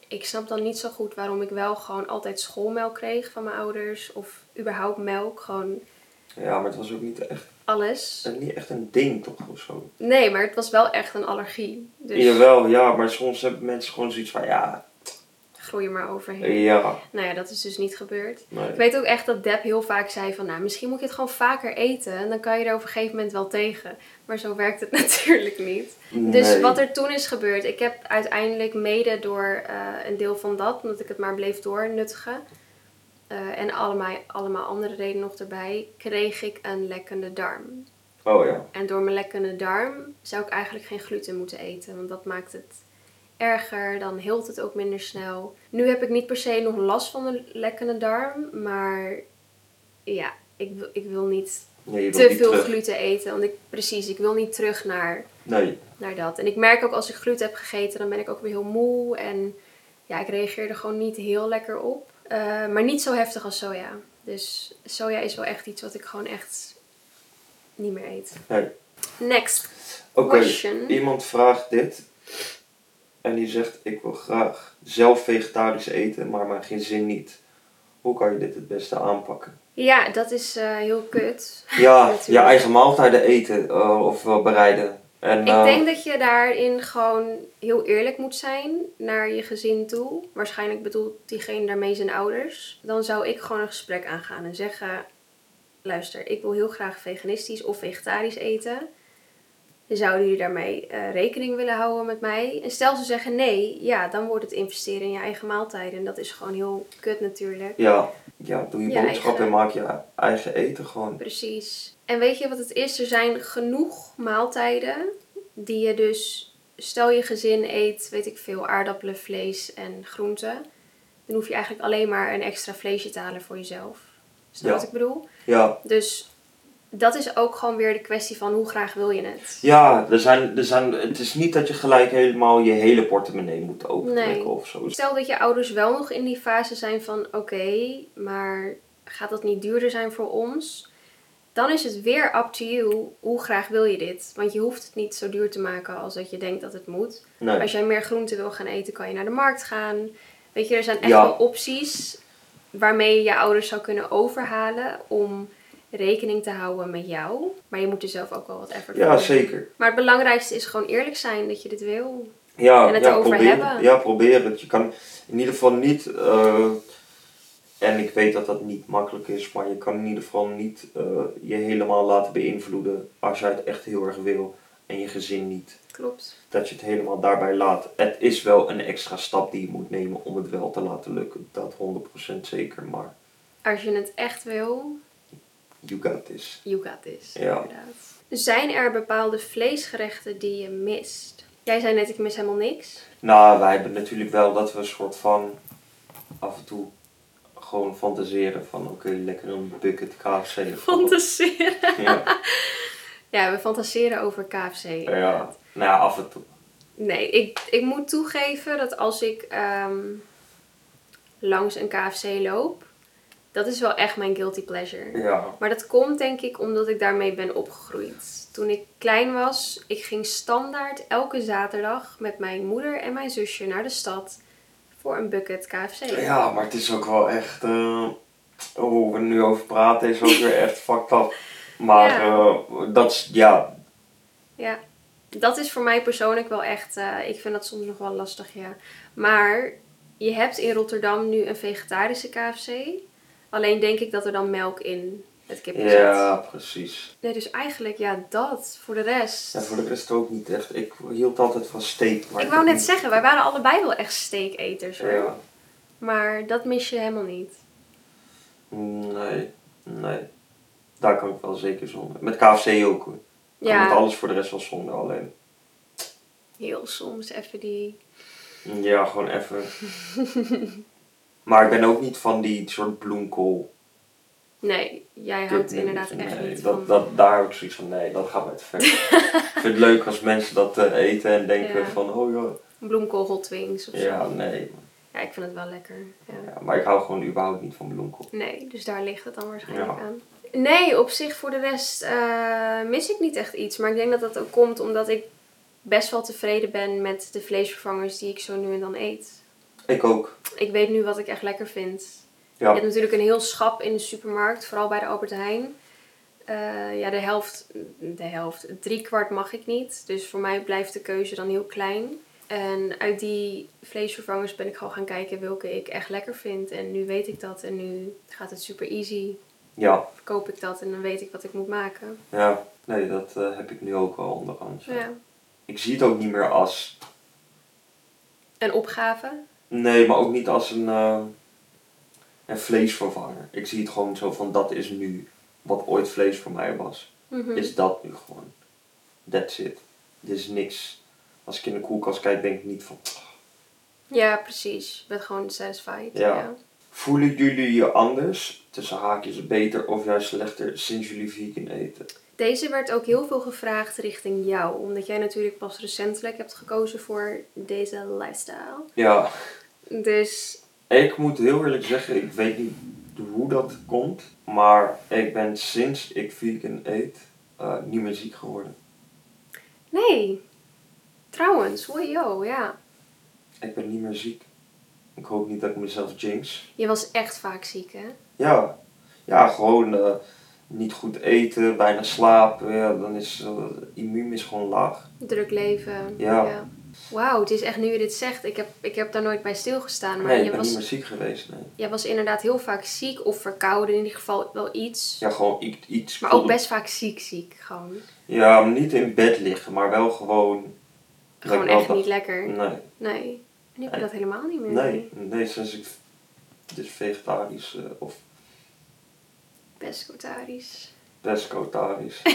Speaker 1: Ik snap dan niet zo goed waarom ik wel gewoon altijd schoolmelk kreeg van mijn ouders. Of überhaupt melk, gewoon
Speaker 2: ja, maar het was ook niet echt,
Speaker 1: alles.
Speaker 2: niet echt een ding toch of zo.
Speaker 1: Nee, maar het was wel echt een allergie. Dus
Speaker 2: Jawel, ja, maar soms hebben mensen gewoon zoiets van ja,
Speaker 1: groei er maar overheen.
Speaker 2: ja,
Speaker 1: Nou ja, dat is dus niet gebeurd.
Speaker 2: nee.
Speaker 1: Ik weet ook echt dat Deb heel vaak zei van, nou, misschien moet je het gewoon vaker eten. En dan kan je er op een gegeven moment wel tegen. Maar zo werkt het natuurlijk niet. Dus
Speaker 2: Nee.
Speaker 1: wat er toen is gebeurd, ik heb uiteindelijk mede door eh, een deel van dat, omdat ik het maar bleef doornuttigen. eh, en allemaal, allemaal andere redenen nog erbij, kreeg ik een lekkende darm.
Speaker 2: Oh ja,
Speaker 1: En door mijn lekkende darm zou ik eigenlijk geen gluten moeten eten, want dat maakt het erger, dan hield het ook minder snel. Nu heb ik niet per se nog last van de lekkende darm, maar ja, ik, wil- ik wil niet
Speaker 2: nee, je wilt
Speaker 1: te
Speaker 2: niet
Speaker 1: veel
Speaker 2: terug.
Speaker 1: gluten eten, want ik, precies, ik wil niet terug naar,
Speaker 2: Nee,
Speaker 1: naar dat. En ik merk ook als ik gluten heb gegeten, dan ben ik ook weer heel moe en ja, ik reageer er gewoon niet heel lekker op. Eh, maar niet zo heftig als soja. Dus soja is wel echt iets wat ik gewoon echt niet meer eet.
Speaker 2: nee.
Speaker 1: Next.
Speaker 2: Oké,
Speaker 1: Question.
Speaker 2: iemand vraagt dit. En die zegt, ik wil graag zelf vegetarisch eten, maar mijn gezin niet. Hoe kan je dit het beste aanpakken?
Speaker 1: Ja, dat is eh, heel kut.
Speaker 2: Ja,
Speaker 1: Natuurlijk.
Speaker 2: je eigen maaltijden eten eh, of wel bereiden. En, eh,
Speaker 1: Ik denk dat je daarin gewoon heel eerlijk moet zijn naar je gezin toe. Waarschijnlijk bedoelt diegene daarmee zijn ouders. Dan zou ik gewoon een gesprek aangaan en zeggen: Luister, ik wil heel graag veganistisch of vegetarisch eten. Zouden jullie daarmee eh, rekening willen houden met mij? En stel ze zeggen nee, ja, dan wordt het investeren in je eigen maaltijden. En dat is gewoon heel kut natuurlijk.
Speaker 2: ja, ja, doe je
Speaker 1: Je
Speaker 2: boodschap
Speaker 1: eigen-
Speaker 2: en maak je eigen eten gewoon.
Speaker 1: Precies. En weet je wat het is? Er zijn genoeg maaltijden die je dus, stel je gezin eet, weet ik veel, aardappelen, vlees en groenten. Dan hoef je eigenlijk alleen maar een extra vleesje te halen voor jezelf. Snap je
Speaker 2: Ja.
Speaker 1: wat ik bedoel?
Speaker 2: Ja,
Speaker 1: Dus dat is ook gewoon weer de kwestie van hoe graag wil je het.
Speaker 2: ja er zijn, er zijn, het is niet dat je gelijk helemaal je hele portemonnee moet openbreken
Speaker 1: Nee.
Speaker 2: of zo. Dus-
Speaker 1: Stel dat je ouders wel nog in die fase zijn van oké, maar gaat dat niet duurder zijn voor ons? Dan is het weer up to you. Hoe graag wil je dit? Want je hoeft het niet zo duur te maken als dat je denkt dat het moet.
Speaker 2: Nee.
Speaker 1: Als jij meer groente wil gaan eten, kan je naar de markt gaan. Weet je, er zijn echt
Speaker 2: Ja.
Speaker 1: wel opties waarmee je je ouders zou kunnen overhalen om rekening te houden met jou. Maar je moet er zelf ook wel wat effort voor
Speaker 2: Ja,
Speaker 1: doen.
Speaker 2: zeker.
Speaker 1: Maar het belangrijkste is gewoon eerlijk zijn dat je dit wil.
Speaker 2: Ja,
Speaker 1: En het
Speaker 2: ja,
Speaker 1: erover
Speaker 2: probeer,
Speaker 1: hebben.
Speaker 2: Ja, probeer het. Je kan in ieder geval niet. eh, en ik weet dat dat niet makkelijk is, maar je kan in ieder geval niet eh, je helemaal laten beïnvloeden als jij het echt heel erg wil. en je gezin niet.
Speaker 1: Klopt.
Speaker 2: Dat je het helemaal daarbij laat. Het is wel een extra stap die je moet nemen om het wel te laten lukken. Dat 100% zeker, maar
Speaker 1: Als je het echt wil,
Speaker 2: you got this.
Speaker 1: you got this.
Speaker 2: Ja.
Speaker 1: Inderdaad. Zijn er bepaalde vleesgerechten die je mist? Jij zei net, ik mis helemaal niks.
Speaker 2: Nou, wij hebben natuurlijk wel dat we een soort van af en toe gewoon fantaseren van oké, lekker een bucket KFC. of zo.
Speaker 1: Fantaseren.
Speaker 2: Ja,
Speaker 1: Ja, we fantaseren over KFC.
Speaker 2: ja. Nou ja, af en toe.
Speaker 1: Nee, ik, ik moet toegeven dat als ik ehm, langs een KFC loop, dat is wel echt mijn guilty pleasure.
Speaker 2: Ja.
Speaker 1: Maar dat komt denk ik omdat ik daarmee ben opgegroeid. Toen ik klein was, ik ging standaard elke zaterdag met mijn moeder en mijn zusje naar de stad voor een bucket KFC.
Speaker 2: Oh Ja, maar het is ook wel echt. eh, oh, we nu over praten is ook weer echt fucked up. Maar
Speaker 1: Ja.
Speaker 2: eh, dat is, ja,
Speaker 1: Ja, dat is voor mij persoonlijk wel echt. eh, ik vind dat soms nog wel lastig, ja. Maar je hebt in Rotterdam nu een vegetarische KFC. Alleen denk ik dat er dan melk in het kipje
Speaker 2: ja,
Speaker 1: zit.
Speaker 2: precies.
Speaker 1: Nee, dus eigenlijk ja, dat. Voor de rest.
Speaker 2: En voor de rest ook niet echt. Ik hield altijd van steak. maar
Speaker 1: ik wou
Speaker 2: heb
Speaker 1: net
Speaker 2: niet-
Speaker 1: zeggen, wij waren allebei wel echt steaketers hoor.
Speaker 2: Ja.
Speaker 1: Maar dat mis je helemaal niet.
Speaker 2: Nee, nee. Daar kan ik wel zeker zonder. Met KFC ook hoor. Kan
Speaker 1: Ja,
Speaker 2: Met alles voor de rest wel zonder alleen.
Speaker 1: heel soms even die.
Speaker 2: Ja, gewoon even. maar ik ben ook niet van die soort bloemkool.
Speaker 1: Nee, jij houdt
Speaker 2: Dit
Speaker 1: inderdaad
Speaker 2: nee,
Speaker 1: echt
Speaker 2: nee,
Speaker 1: niet
Speaker 2: dat,
Speaker 1: van.
Speaker 2: Dat, daar heb ik zoiets van, nee, dat gaat mij te ver. ik vind het leuk als mensen dat eh, eten en denken
Speaker 1: Ja.
Speaker 2: van, oh ja.
Speaker 1: Bloemkool hot wings of
Speaker 2: Ja,
Speaker 1: zo.
Speaker 2: nee.
Speaker 1: Ja, ik vind het wel lekker. Ja.
Speaker 2: Ja, maar ik hou gewoon überhaupt niet van bloemkool.
Speaker 1: Nee, dus daar ligt het dan waarschijnlijk
Speaker 2: Ja.
Speaker 1: aan. Nee, op zich voor de rest eh, mis ik niet echt iets. Maar ik denk dat dat ook komt omdat ik best wel tevreden ben met de vleesvervangers die ik zo nu en dan eet.
Speaker 2: Ik ook.
Speaker 1: Ik weet nu wat ik echt lekker vind.
Speaker 2: Ja,
Speaker 1: Je hebt natuurlijk een heel schap in de supermarkt, vooral bij de Albert Heijn. Eh, ja, de helft, de helft, drie kwart mag ik niet. Dus voor mij blijft de keuze dan heel klein. En uit die vleesvervangers ben ik gewoon gaan kijken welke ik echt lekker vind. En nu weet ik dat en nu gaat het super easy
Speaker 2: ja,
Speaker 1: koop ik dat en dan weet ik wat ik moet maken.
Speaker 2: ja. Nee, dat eh, heb ik nu ook wel onderhand. ja.
Speaker 1: Ja.
Speaker 2: Ik zie het ook niet meer als...
Speaker 1: Een opgave?
Speaker 2: Nee, maar ook niet als een, eh, een vleesvervanger. Ik zie het gewoon zo van, dat is nu wat ooit vlees voor mij was.
Speaker 1: Mhm.
Speaker 2: is dat nu gewoon. That's it. Dit is niks. Als ik in de koelkast kijk, denk ik niet van.
Speaker 1: Ja, precies. Je bent gewoon satisfied.
Speaker 2: Ja.
Speaker 1: Ja.
Speaker 2: Voelen jullie je anders, tussen haakjes beter of juist slechter, sinds jullie vegan eten?
Speaker 1: Deze werd ook heel veel gevraagd richting jou, omdat jij natuurlijk pas recentelijk hebt gekozen voor deze lifestyle.
Speaker 2: Ja,
Speaker 1: Dus
Speaker 2: ik moet heel eerlijk zeggen, ik weet niet hoe dat komt, maar ik ben sinds ik vegan eet eh, niet meer ziek geworden.
Speaker 1: nee. Trouwens, wojo, ja.
Speaker 2: Ik ben niet meer ziek. Ik hoop niet dat ik mezelf jinx.
Speaker 1: Je was echt vaak ziek, hè?
Speaker 2: Ja, ja gewoon eh, niet goed eten, weinig slapen. Ja, dan is eh, immuun is gewoon laag.
Speaker 1: Druk leven.
Speaker 2: Ja.
Speaker 1: Wauw, het is echt nu je dit zegt. Ik heb, ik heb daar nooit bij stilgestaan. Maar
Speaker 2: nee, ik
Speaker 1: je
Speaker 2: ben
Speaker 1: was,
Speaker 2: niet meer ziek geweest. Nee.
Speaker 1: jij was inderdaad heel vaak ziek of verkouden. In ieder geval wel iets.
Speaker 2: Ja, gewoon i- iets.
Speaker 1: Maar ook best vaak ziek, ziek. Gewoon,
Speaker 2: Ja, niet in bed liggen, maar wel gewoon. dat ik
Speaker 1: gewoon
Speaker 2: wel
Speaker 1: echt
Speaker 2: dacht-
Speaker 1: niet lekker.
Speaker 2: Nee,
Speaker 1: Nee. Nu heb je
Speaker 2: Nee.
Speaker 1: dat helemaal niet meer.
Speaker 2: nee, nee, sinds ik dus vegetarisch eh, of
Speaker 1: Pescotarisch.
Speaker 2: pescotarisch.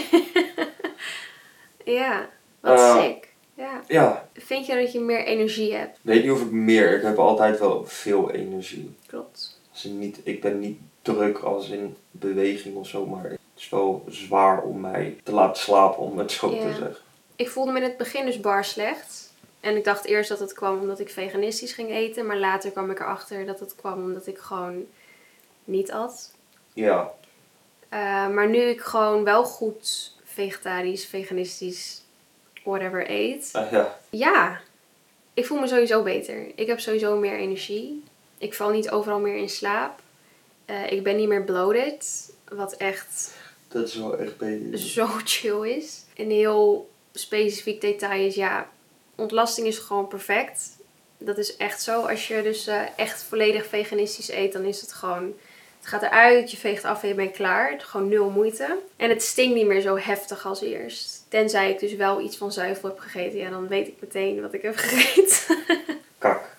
Speaker 1: Ja, wat
Speaker 2: Eh.
Speaker 1: sick. Ja.
Speaker 2: ja,
Speaker 1: Vind je dat je meer energie hebt?
Speaker 2: weet niet of ik meer. Ik heb altijd wel veel energie.
Speaker 1: Klopt.
Speaker 2: Als in niet, ik ben niet druk als in beweging of zo, maar het is wel zwaar om mij te laten slapen, om het zo te
Speaker 1: Ja.
Speaker 2: zeggen.
Speaker 1: Ik voelde me in het begin dus bar slecht. En ik dacht eerst dat het kwam omdat ik veganistisch ging eten. Maar later kwam ik erachter dat het kwam omdat ik gewoon niet at.
Speaker 2: Ja,
Speaker 1: Eh, maar nu ik gewoon wel goed vegetarisch, veganistisch, whatever eet.
Speaker 2: eh, ja.
Speaker 1: Ja, ik voel me sowieso beter. Ik heb sowieso meer energie. Ik val niet overal meer in slaap. Eh, ik ben niet meer bloated, wat echt
Speaker 2: dat is wel echt beter.
Speaker 1: zo chill is. Een heel specifiek detail is, ja, ontlasting is gewoon perfect. Dat is echt zo. Als je dus eh, echt volledig veganistisch eet, dan is het gewoon Het gaat eruit, je veegt af en je bent klaar. Het- Gewoon nul moeite. En het stinkt niet meer zo heftig als eerst. Tenzij ik dus wel iets van zuivel heb gegeten. Ja, dan weet ik meteen wat ik heb gegeten.
Speaker 2: Kak.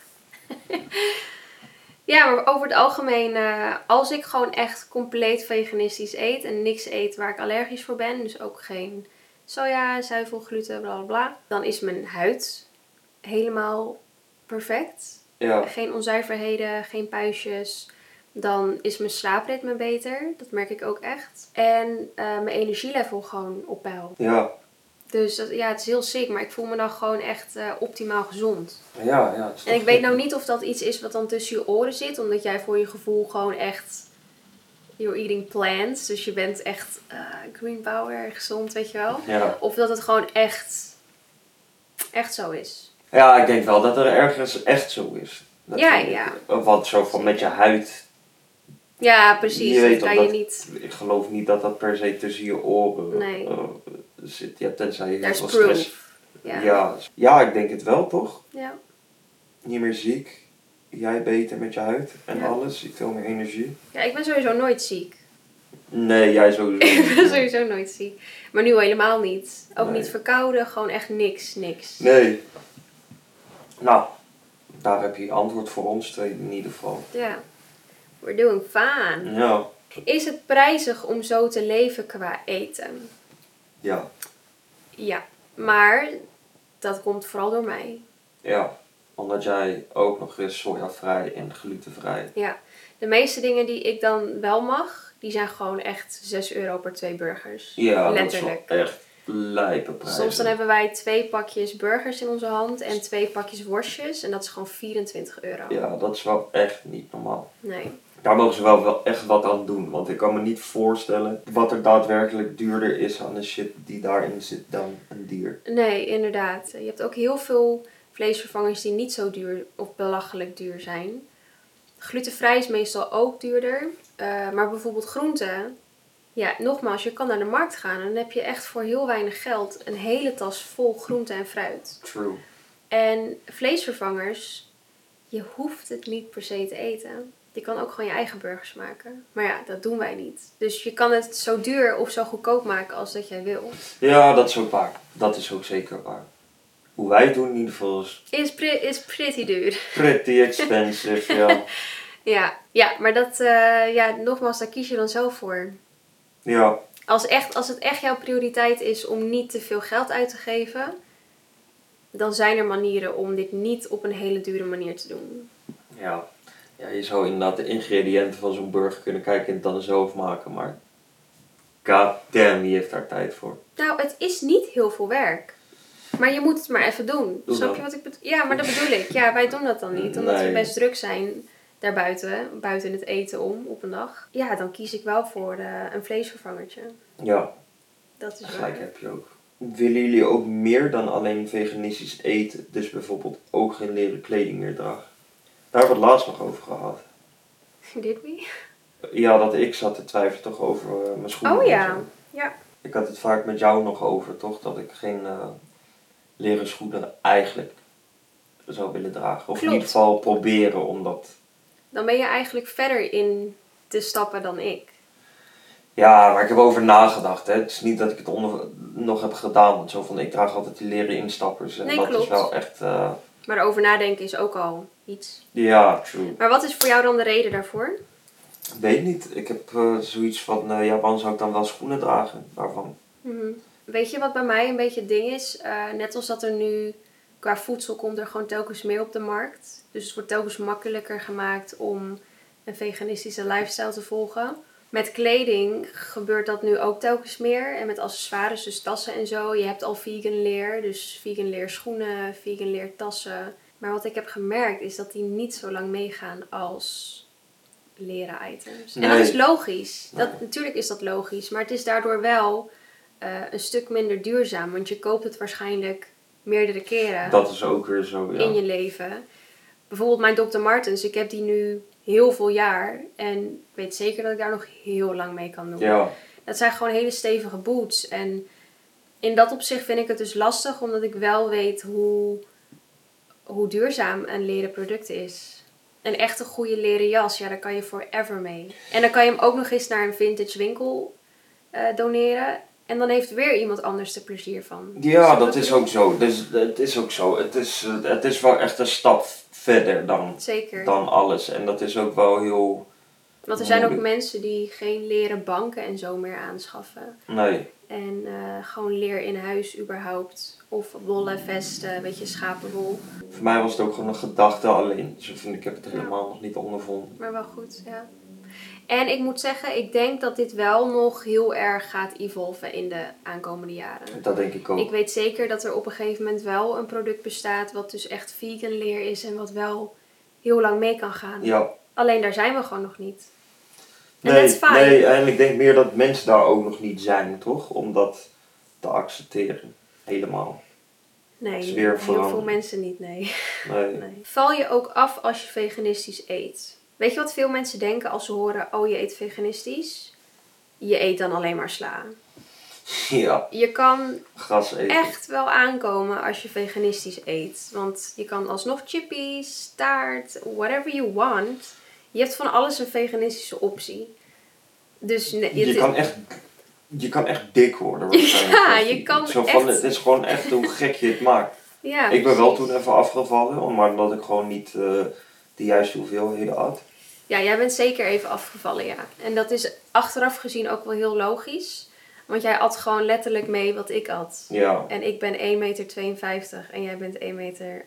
Speaker 1: ja, maar over het algemeen, eh, als ik gewoon echt compleet veganistisch eet en niks eet waar ik allergisch voor ben, dus ook geen soja, zuivel, gluten, bla bla bla, dan is mijn huid helemaal perfect.
Speaker 2: Ja,
Speaker 1: Geen onzuiverheden, geen puistjes. Dan is mijn slaapritme beter. Dat merk ik ook echt. En eh, mijn energielevel gewoon op peil.
Speaker 2: ja,
Speaker 1: Dus dat, ja, het is heel sick, maar ik voel me dan gewoon echt eh, optimaal gezond.
Speaker 2: ja. ja het is
Speaker 1: En ik
Speaker 2: toch-
Speaker 1: weet nou niet of dat iets is wat dan tussen je oren zit, omdat jij voor je gevoel gewoon echt. You're eating plants, dus je bent echt eh, green power, gezond, weet je wel.
Speaker 2: Ja.
Speaker 1: Of dat het gewoon echt. echt zo is.
Speaker 2: ja, ik denk wel dat er ergens echt zo is. Dat
Speaker 1: Ja,
Speaker 2: vind ik.
Speaker 1: ja.
Speaker 2: Want zo van met je huid.
Speaker 1: Ja, precies.
Speaker 2: Je
Speaker 1: dat
Speaker 2: weet
Speaker 1: kan
Speaker 2: omdat-
Speaker 1: je niet.
Speaker 2: Ik geloof niet dat dat per se tussen je oren
Speaker 1: Nee.
Speaker 2: eh, zit. Ja, tenzij je
Speaker 1: Daar
Speaker 2: heel
Speaker 1: is
Speaker 2: veel
Speaker 1: proof.
Speaker 2: stress... Ja. ja, ik denk het wel toch?
Speaker 1: Ja.
Speaker 2: Niet meer ziek. Jij beter met je huid en
Speaker 1: Ja.
Speaker 2: alles. Je hebt veel meer energie.
Speaker 1: ja, ik ben sowieso nooit ziek.
Speaker 2: Nee, jij sowieso.
Speaker 1: Ik
Speaker 2: niet.
Speaker 1: ben sowieso nooit ziek. Maar nu helemaal niet. Ook
Speaker 2: Nee.
Speaker 1: niet verkouden, gewoon echt niks, niks.
Speaker 2: Nee. Nou, daar heb je antwoord voor ons twee in ieder geval.
Speaker 1: Ja. We're doing fine.
Speaker 2: Ja.
Speaker 1: Is het prijzig om zo te leven qua eten?
Speaker 2: Ja.
Speaker 1: Ja. Maar dat komt vooral door mij.
Speaker 2: Ja. Omdat jij ook nog eens sojavrij en glutenvrij.
Speaker 1: Ja. De meeste dingen die ik dan wel mag, die zijn gewoon echt 6 euro per twee burgers.
Speaker 2: Ja,
Speaker 1: Letterlijk.
Speaker 2: dat is wel echt lijpe prijzen.
Speaker 1: Soms dan hebben wij twee pakjes burgers in onze hand en twee pakjes worstjes. En dat is gewoon 24 euro.
Speaker 2: Ja, dat is wel echt niet normaal.
Speaker 1: Nee.
Speaker 2: Daar mogen ze wel, wel echt wat aan doen. Want ik kan me niet voorstellen wat er daadwerkelijk duurder is aan de shit die daarin zit dan een dier.
Speaker 1: Nee, inderdaad. Je hebt ook heel veel vleesvervangers die niet zo duur of belachelijk duur zijn. Glutenvrij is meestal ook duurder. Eh, maar bijvoorbeeld groenten. Ja, nogmaals, je kan naar de markt gaan en dan heb je echt voor heel weinig geld een hele tas vol groente en fruit.
Speaker 2: True.
Speaker 1: En vleesvervangers, je hoeft het niet per se te eten. Je kan ook gewoon je eigen burgers maken. Maar ja, dat doen wij niet. Dus je kan het zo duur of zo goedkoop maken als dat jij wil.
Speaker 2: Ja, dat is ook waar. Dat is ook zeker waar. Hoe wij het doen in ieder geval is
Speaker 1: Is, pre- is pretty duur.
Speaker 2: pretty expensive, ja.
Speaker 1: Ja, ja maar dat, eh, ja, nogmaals, daar kies je dan zelf voor.
Speaker 2: Ja,
Speaker 1: Als, echt, als het echt jouw prioriteit is om niet te veel geld uit te geven, dan zijn er manieren om dit niet op een hele dure manier te doen.
Speaker 2: ja. Ja, je zou inderdaad de ingrediënten van zo'n burger kunnen kijken en het dan zelf maken, maar... God damn, wie heeft daar tijd voor?
Speaker 1: Nou, het is niet heel veel werk. Maar je moet het maar even doen.
Speaker 2: Doe
Speaker 1: Snap
Speaker 2: dat.
Speaker 1: je wat ik bedoel? Ja, maar dat bedoel ik. Ja, wij doen dat dan niet. Omdat
Speaker 2: Nee.
Speaker 1: we best druk zijn daarbuiten, buiten het eten om, op een dag. Ja, dan kies ik wel voor eh, een vleesvervangertje.
Speaker 2: Ja,
Speaker 1: Dat is
Speaker 2: gelijk
Speaker 1: waar.
Speaker 2: heb je ook. Willen jullie ook meer dan alleen veganistisch eten, dus bijvoorbeeld ook geen leren kleding meer dragen? Daar hebben we het laatst nog over gehad.
Speaker 1: Dit we?
Speaker 2: Ja, dat ik zat te twijfelen toch over eh, mijn schoenen.
Speaker 1: Oh
Speaker 2: en
Speaker 1: ja.
Speaker 2: zo.
Speaker 1: Ja.
Speaker 2: Ik had het vaak met jou nog over, toch? Dat ik geen eh, leren schoenen eigenlijk zou willen dragen. Of in
Speaker 1: Klopt.
Speaker 2: ieder geval proberen om dat...
Speaker 1: dan ben je eigenlijk verder in te stappen dan ik.
Speaker 2: Ja, maar ik heb over nagedacht. Hè. Het is niet dat ik het onder... nog heb gedaan. Want zo van, ik draag altijd die leren instappers. En
Speaker 1: Nee,
Speaker 2: dat is
Speaker 1: klopt.
Speaker 2: wel echt... eh,
Speaker 1: Maar erover nadenken is ook al iets.
Speaker 2: ja, true.
Speaker 1: Maar wat is voor jou dan de reden daarvoor?
Speaker 2: Weet niet. Ik heb eh, zoiets van, eh, ja, waarom zou ik dan wel schoenen dragen? Waarvan?
Speaker 1: Mhm. Weet je wat bij mij een beetje het ding is? Eh, net als dat er nu qua voedsel komt er gewoon telkens meer op de markt. Dus het wordt telkens makkelijker gemaakt om een veganistische lifestyle te volgen. Met kleding gebeurt dat nu ook telkens meer. En met accessoires, dus tassen en zo. Je hebt al vegan leer, dus vegan leer schoenen, vegan leer tassen. Maar wat ik heb gemerkt is dat die niet zo lang meegaan als leren items. En
Speaker 2: Nee.
Speaker 1: dat is logisch. Dat, Natuurlijk is dat logisch, maar het is daardoor wel eh, een stuk minder duurzaam. Want je koopt het waarschijnlijk meerdere keren
Speaker 2: Dat is ook weer zo, ja.
Speaker 1: in je leven. Bijvoorbeeld mijn Dr. Martens, ik heb die nu heel veel jaar. En ik weet zeker dat ik daar nog heel lang mee kan doen.
Speaker 2: Ja,
Speaker 1: Dat zijn gewoon hele stevige boots. En in dat opzicht vind ik het dus lastig, omdat ik wel weet hoe, hoe duurzaam een leren product is. een echte goede leren jas, ja, daar kan je forever mee. En dan kan je hem ook nog eens naar een vintage winkel eh, doneren. En dan heeft weer iemand anders er plezier van.
Speaker 2: Ja,
Speaker 1: Dus
Speaker 2: dat is ook zo. Dus, het is ook zo. Het is, eh, het is wel echt een stap verder dan,
Speaker 1: Zeker.
Speaker 2: dan alles. En dat is ook wel heel...
Speaker 1: Want er zijn ook
Speaker 2: moeilijk.
Speaker 1: mensen die geen leren banken en zo meer aanschaffen.
Speaker 2: Nee.
Speaker 1: En eh, gewoon leer in huis überhaupt. Of wollen vesten, weet je, schapenwol.
Speaker 2: Voor mij was het ook gewoon een gedachte alleen. Zo van, ik heb het helemaal nog niet ondervonden.
Speaker 1: Maar wel goed, ja. En ik moet zeggen, ik denk dat dit wel nog heel erg gaat evolven in de aankomende jaren.
Speaker 2: Dat denk ik ook.
Speaker 1: Ik weet zeker dat er op een gegeven moment wel een product bestaat wat dus echt vegan leer is en wat wel heel lang mee kan gaan.
Speaker 2: Ja.
Speaker 1: Alleen daar zijn we gewoon nog niet. En dat is
Speaker 2: Nee,
Speaker 1: fijn.
Speaker 2: nee, en ik denk meer dat mensen daar ook nog niet zijn, toch? Om dat te accepteren. Helemaal.
Speaker 1: Nee,
Speaker 2: Sfeer
Speaker 1: heel veel
Speaker 2: veranderen.
Speaker 1: mensen niet, nee.
Speaker 2: Nee.
Speaker 1: nee. Val je ook af als je veganistisch eet? Weet je wat veel mensen denken als ze horen, oh je eet veganistisch? Je eet dan alleen maar sla.
Speaker 2: Ja,
Speaker 1: Je kan
Speaker 2: gras eten.
Speaker 1: echt wel aankomen als je veganistisch eet. Want je kan alsnog chippies, taart, whatever you want. Je hebt van alles een veganistische optie. Dus nee,
Speaker 2: Je
Speaker 1: het-
Speaker 2: kan echt... Je kan echt dik worden. waarschijnlijk,
Speaker 1: Ja,
Speaker 2: als
Speaker 1: je kan
Speaker 2: Zo van,
Speaker 1: echt-
Speaker 2: Het is gewoon echt hoe gek je het maakt.
Speaker 1: ja,
Speaker 2: ik ben wel
Speaker 1: precies.
Speaker 2: toen even afgevallen, maar omdat ik gewoon niet eh, de juiste hoeveelheden had.
Speaker 1: Ja, jij bent zeker even afgevallen, ja. En dat is achteraf gezien ook wel heel logisch. Want jij at gewoon letterlijk mee wat ik at.
Speaker 2: Ja,
Speaker 1: En ik ben 1,52 meter en jij bent 1,88 meter.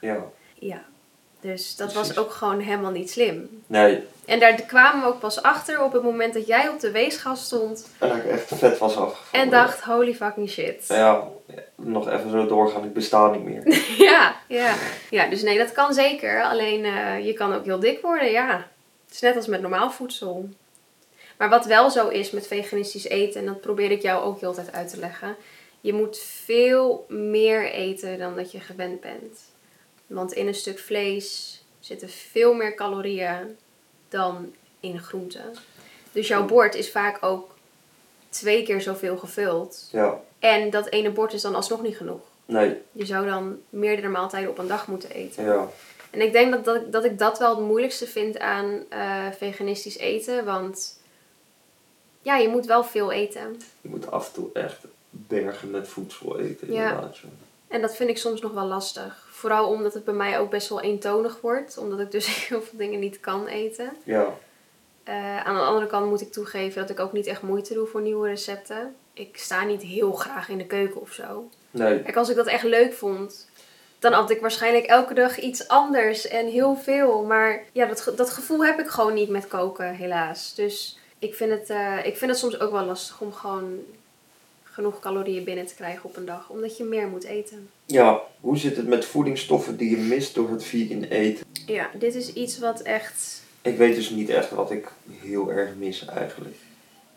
Speaker 2: ja.
Speaker 1: Ja. Dus dat was
Speaker 2: Precies.
Speaker 1: ook gewoon helemaal niet slim.
Speaker 2: Nee,
Speaker 1: En daar kwamen we ook pas achter op het moment dat jij op de weegschaal stond
Speaker 2: en dat ik echt vet was afgevallen.
Speaker 1: en dacht, holy fucking shit. Ja.
Speaker 2: Ja, nog even zo doorgaan, ik besta niet meer.
Speaker 1: ja, ja. dus nee, dat kan zeker. Alleen eh, je kan ook heel dik worden, ja. Het is net als met normaal voedsel. Maar wat wel zo is met veganistisch eten, en dat probeer ik jou ook heel de tijd uit te leggen. Je moet veel meer eten dan dat je gewend bent. Want in een stuk vlees zitten veel meer calorieën dan in groenten. Dus jouw bord is vaak ook twee keer zoveel gevuld.
Speaker 2: Ja,
Speaker 1: En dat ene bord is dan alsnog niet genoeg.
Speaker 2: nee,
Speaker 1: Je zou dan meerdere maaltijden op een dag moeten eten.
Speaker 2: ja.
Speaker 1: En ik denk dat, dat, ik- dat ik dat wel het moeilijkste vind aan eh, veganistisch eten. Want ja, je moet wel veel eten.
Speaker 2: Je moet af en toe echt bergen met voedsel eten.
Speaker 1: Ja.
Speaker 2: Inderdaad, zo.
Speaker 1: En dat vind ik soms nog wel lastig. Vooral omdat het bij mij ook best wel eentonig wordt. Omdat ik dus heel veel dingen niet kan eten.
Speaker 2: ja.
Speaker 1: Eh, aan de andere kant moet ik toegeven dat ik ook niet echt moeite doe voor nieuwe recepten. Ik sta niet heel graag in de keuken of zo.
Speaker 2: Nee,
Speaker 1: Kijk, als ik dat echt leuk vond, dan had ik waarschijnlijk elke dag iets anders en heel veel. Maar ja, dat, ge- dat gevoel heb ik gewoon niet met koken, helaas. Dus ik vind, het, eh, ik vind het soms ook wel lastig om gewoon genoeg calorieën binnen te krijgen op een dag. Omdat je meer moet eten.
Speaker 2: ja. Hoe zit het met voedingsstoffen die je mist door het vegan eten?
Speaker 1: Ja, dit is iets wat echt...
Speaker 2: Ik weet dus niet echt wat ik heel erg mis eigenlijk.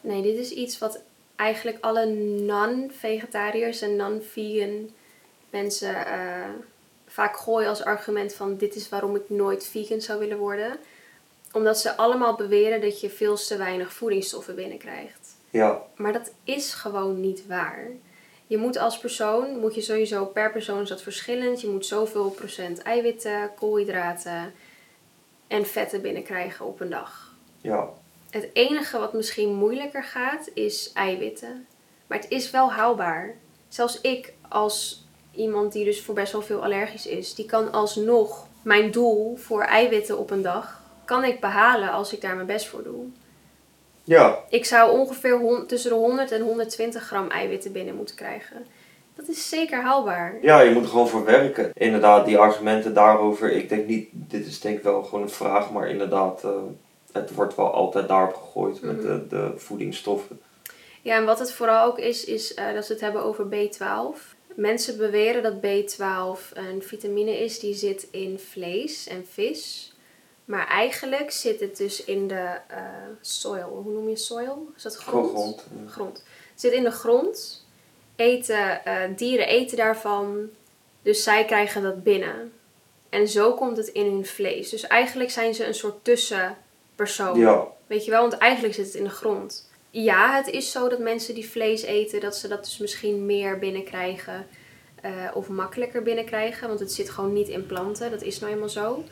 Speaker 1: Nee, dit is iets wat eigenlijk alle non-vegetariërs en non-vegan mensen eh, vaak gooien als argument van dit is waarom ik nooit vegan zou willen worden. Omdat ze allemaal beweren dat je veel te weinig voedingsstoffen binnenkrijgt.
Speaker 2: Ja,
Speaker 1: Maar dat is gewoon niet waar. Je moet als persoon, moet je sowieso per persoon is dat verschillend. Je moet zoveel procent eiwitten, koolhydraten en vetten binnenkrijgen op een dag.
Speaker 2: ja,
Speaker 1: Het enige wat misschien moeilijker gaat is eiwitten. Maar het is wel haalbaar. Zelfs ik, als iemand die dus voor best wel veel allergisch is, die kan alsnog mijn doel voor eiwitten op een dag kan ik behalen als ik daar mijn best voor doe.
Speaker 2: ja.
Speaker 1: Ik zou ongeveer hon- tussen de 100 en 120 gram eiwitten binnen moeten krijgen. Dat is zeker haalbaar.
Speaker 2: Ja, je moet er gewoon voor werken. Inderdaad, die argumenten daarover, ik denk niet, dit is denk ik wel gewoon een vraag, maar inderdaad, eh, het wordt wel altijd daarop gegooid
Speaker 1: Mhm.
Speaker 2: met de, de voedingsstoffen.
Speaker 1: Ja, en wat het vooral ook is, is eh, dat ze het hebben over B12. Mensen beweren dat B12 een vitamine is die zit in vlees en vis. Maar eigenlijk zit het dus in de eh, soil. Hoe noem je soil? Is dat grond?
Speaker 2: Gewoon grond. ja.
Speaker 1: grond. Het zit in de grond. Eten, eh, dieren eten daarvan. Dus zij krijgen dat binnen. En zo komt het in hun vlees. Dus eigenlijk zijn ze een soort tussenpersoon.
Speaker 2: Ja,
Speaker 1: Weet je wel, want eigenlijk zit het in de grond. Ja, het is zo dat mensen die vlees eten, dat ze dat dus misschien meer binnenkrijgen. eh, of makkelijker binnenkrijgen, want het zit gewoon niet in planten. Dat is nou eenmaal zo.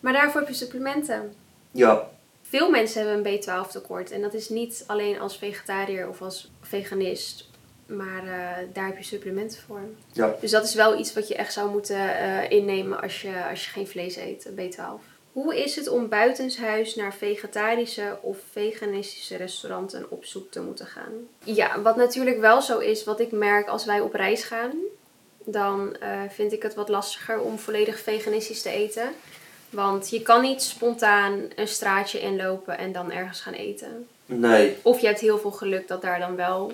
Speaker 1: Maar daarvoor heb je supplementen.
Speaker 2: Ja,
Speaker 1: Veel mensen hebben een B12 tekort. En dat is niet alleen als vegetariër of als veganist. Maar eh, daar heb je supplementen voor.
Speaker 2: ja.
Speaker 1: Dus dat is wel iets wat je echt zou moeten eh, innemen als je, als je geen vlees eet, een B12. Hoe is het om buitenshuis naar vegetarische of veganistische restaurants en op zoek te moeten gaan? Ja, wat natuurlijk wel zo is, wat ik merk als wij op reis gaan, dan eh, vind ik het wat lastiger om volledig veganistisch te eten. Want je kan niet spontaan een straatje inlopen en dan ergens gaan eten.
Speaker 2: Nee,
Speaker 1: Of je hebt heel veel geluk dat daar dan wel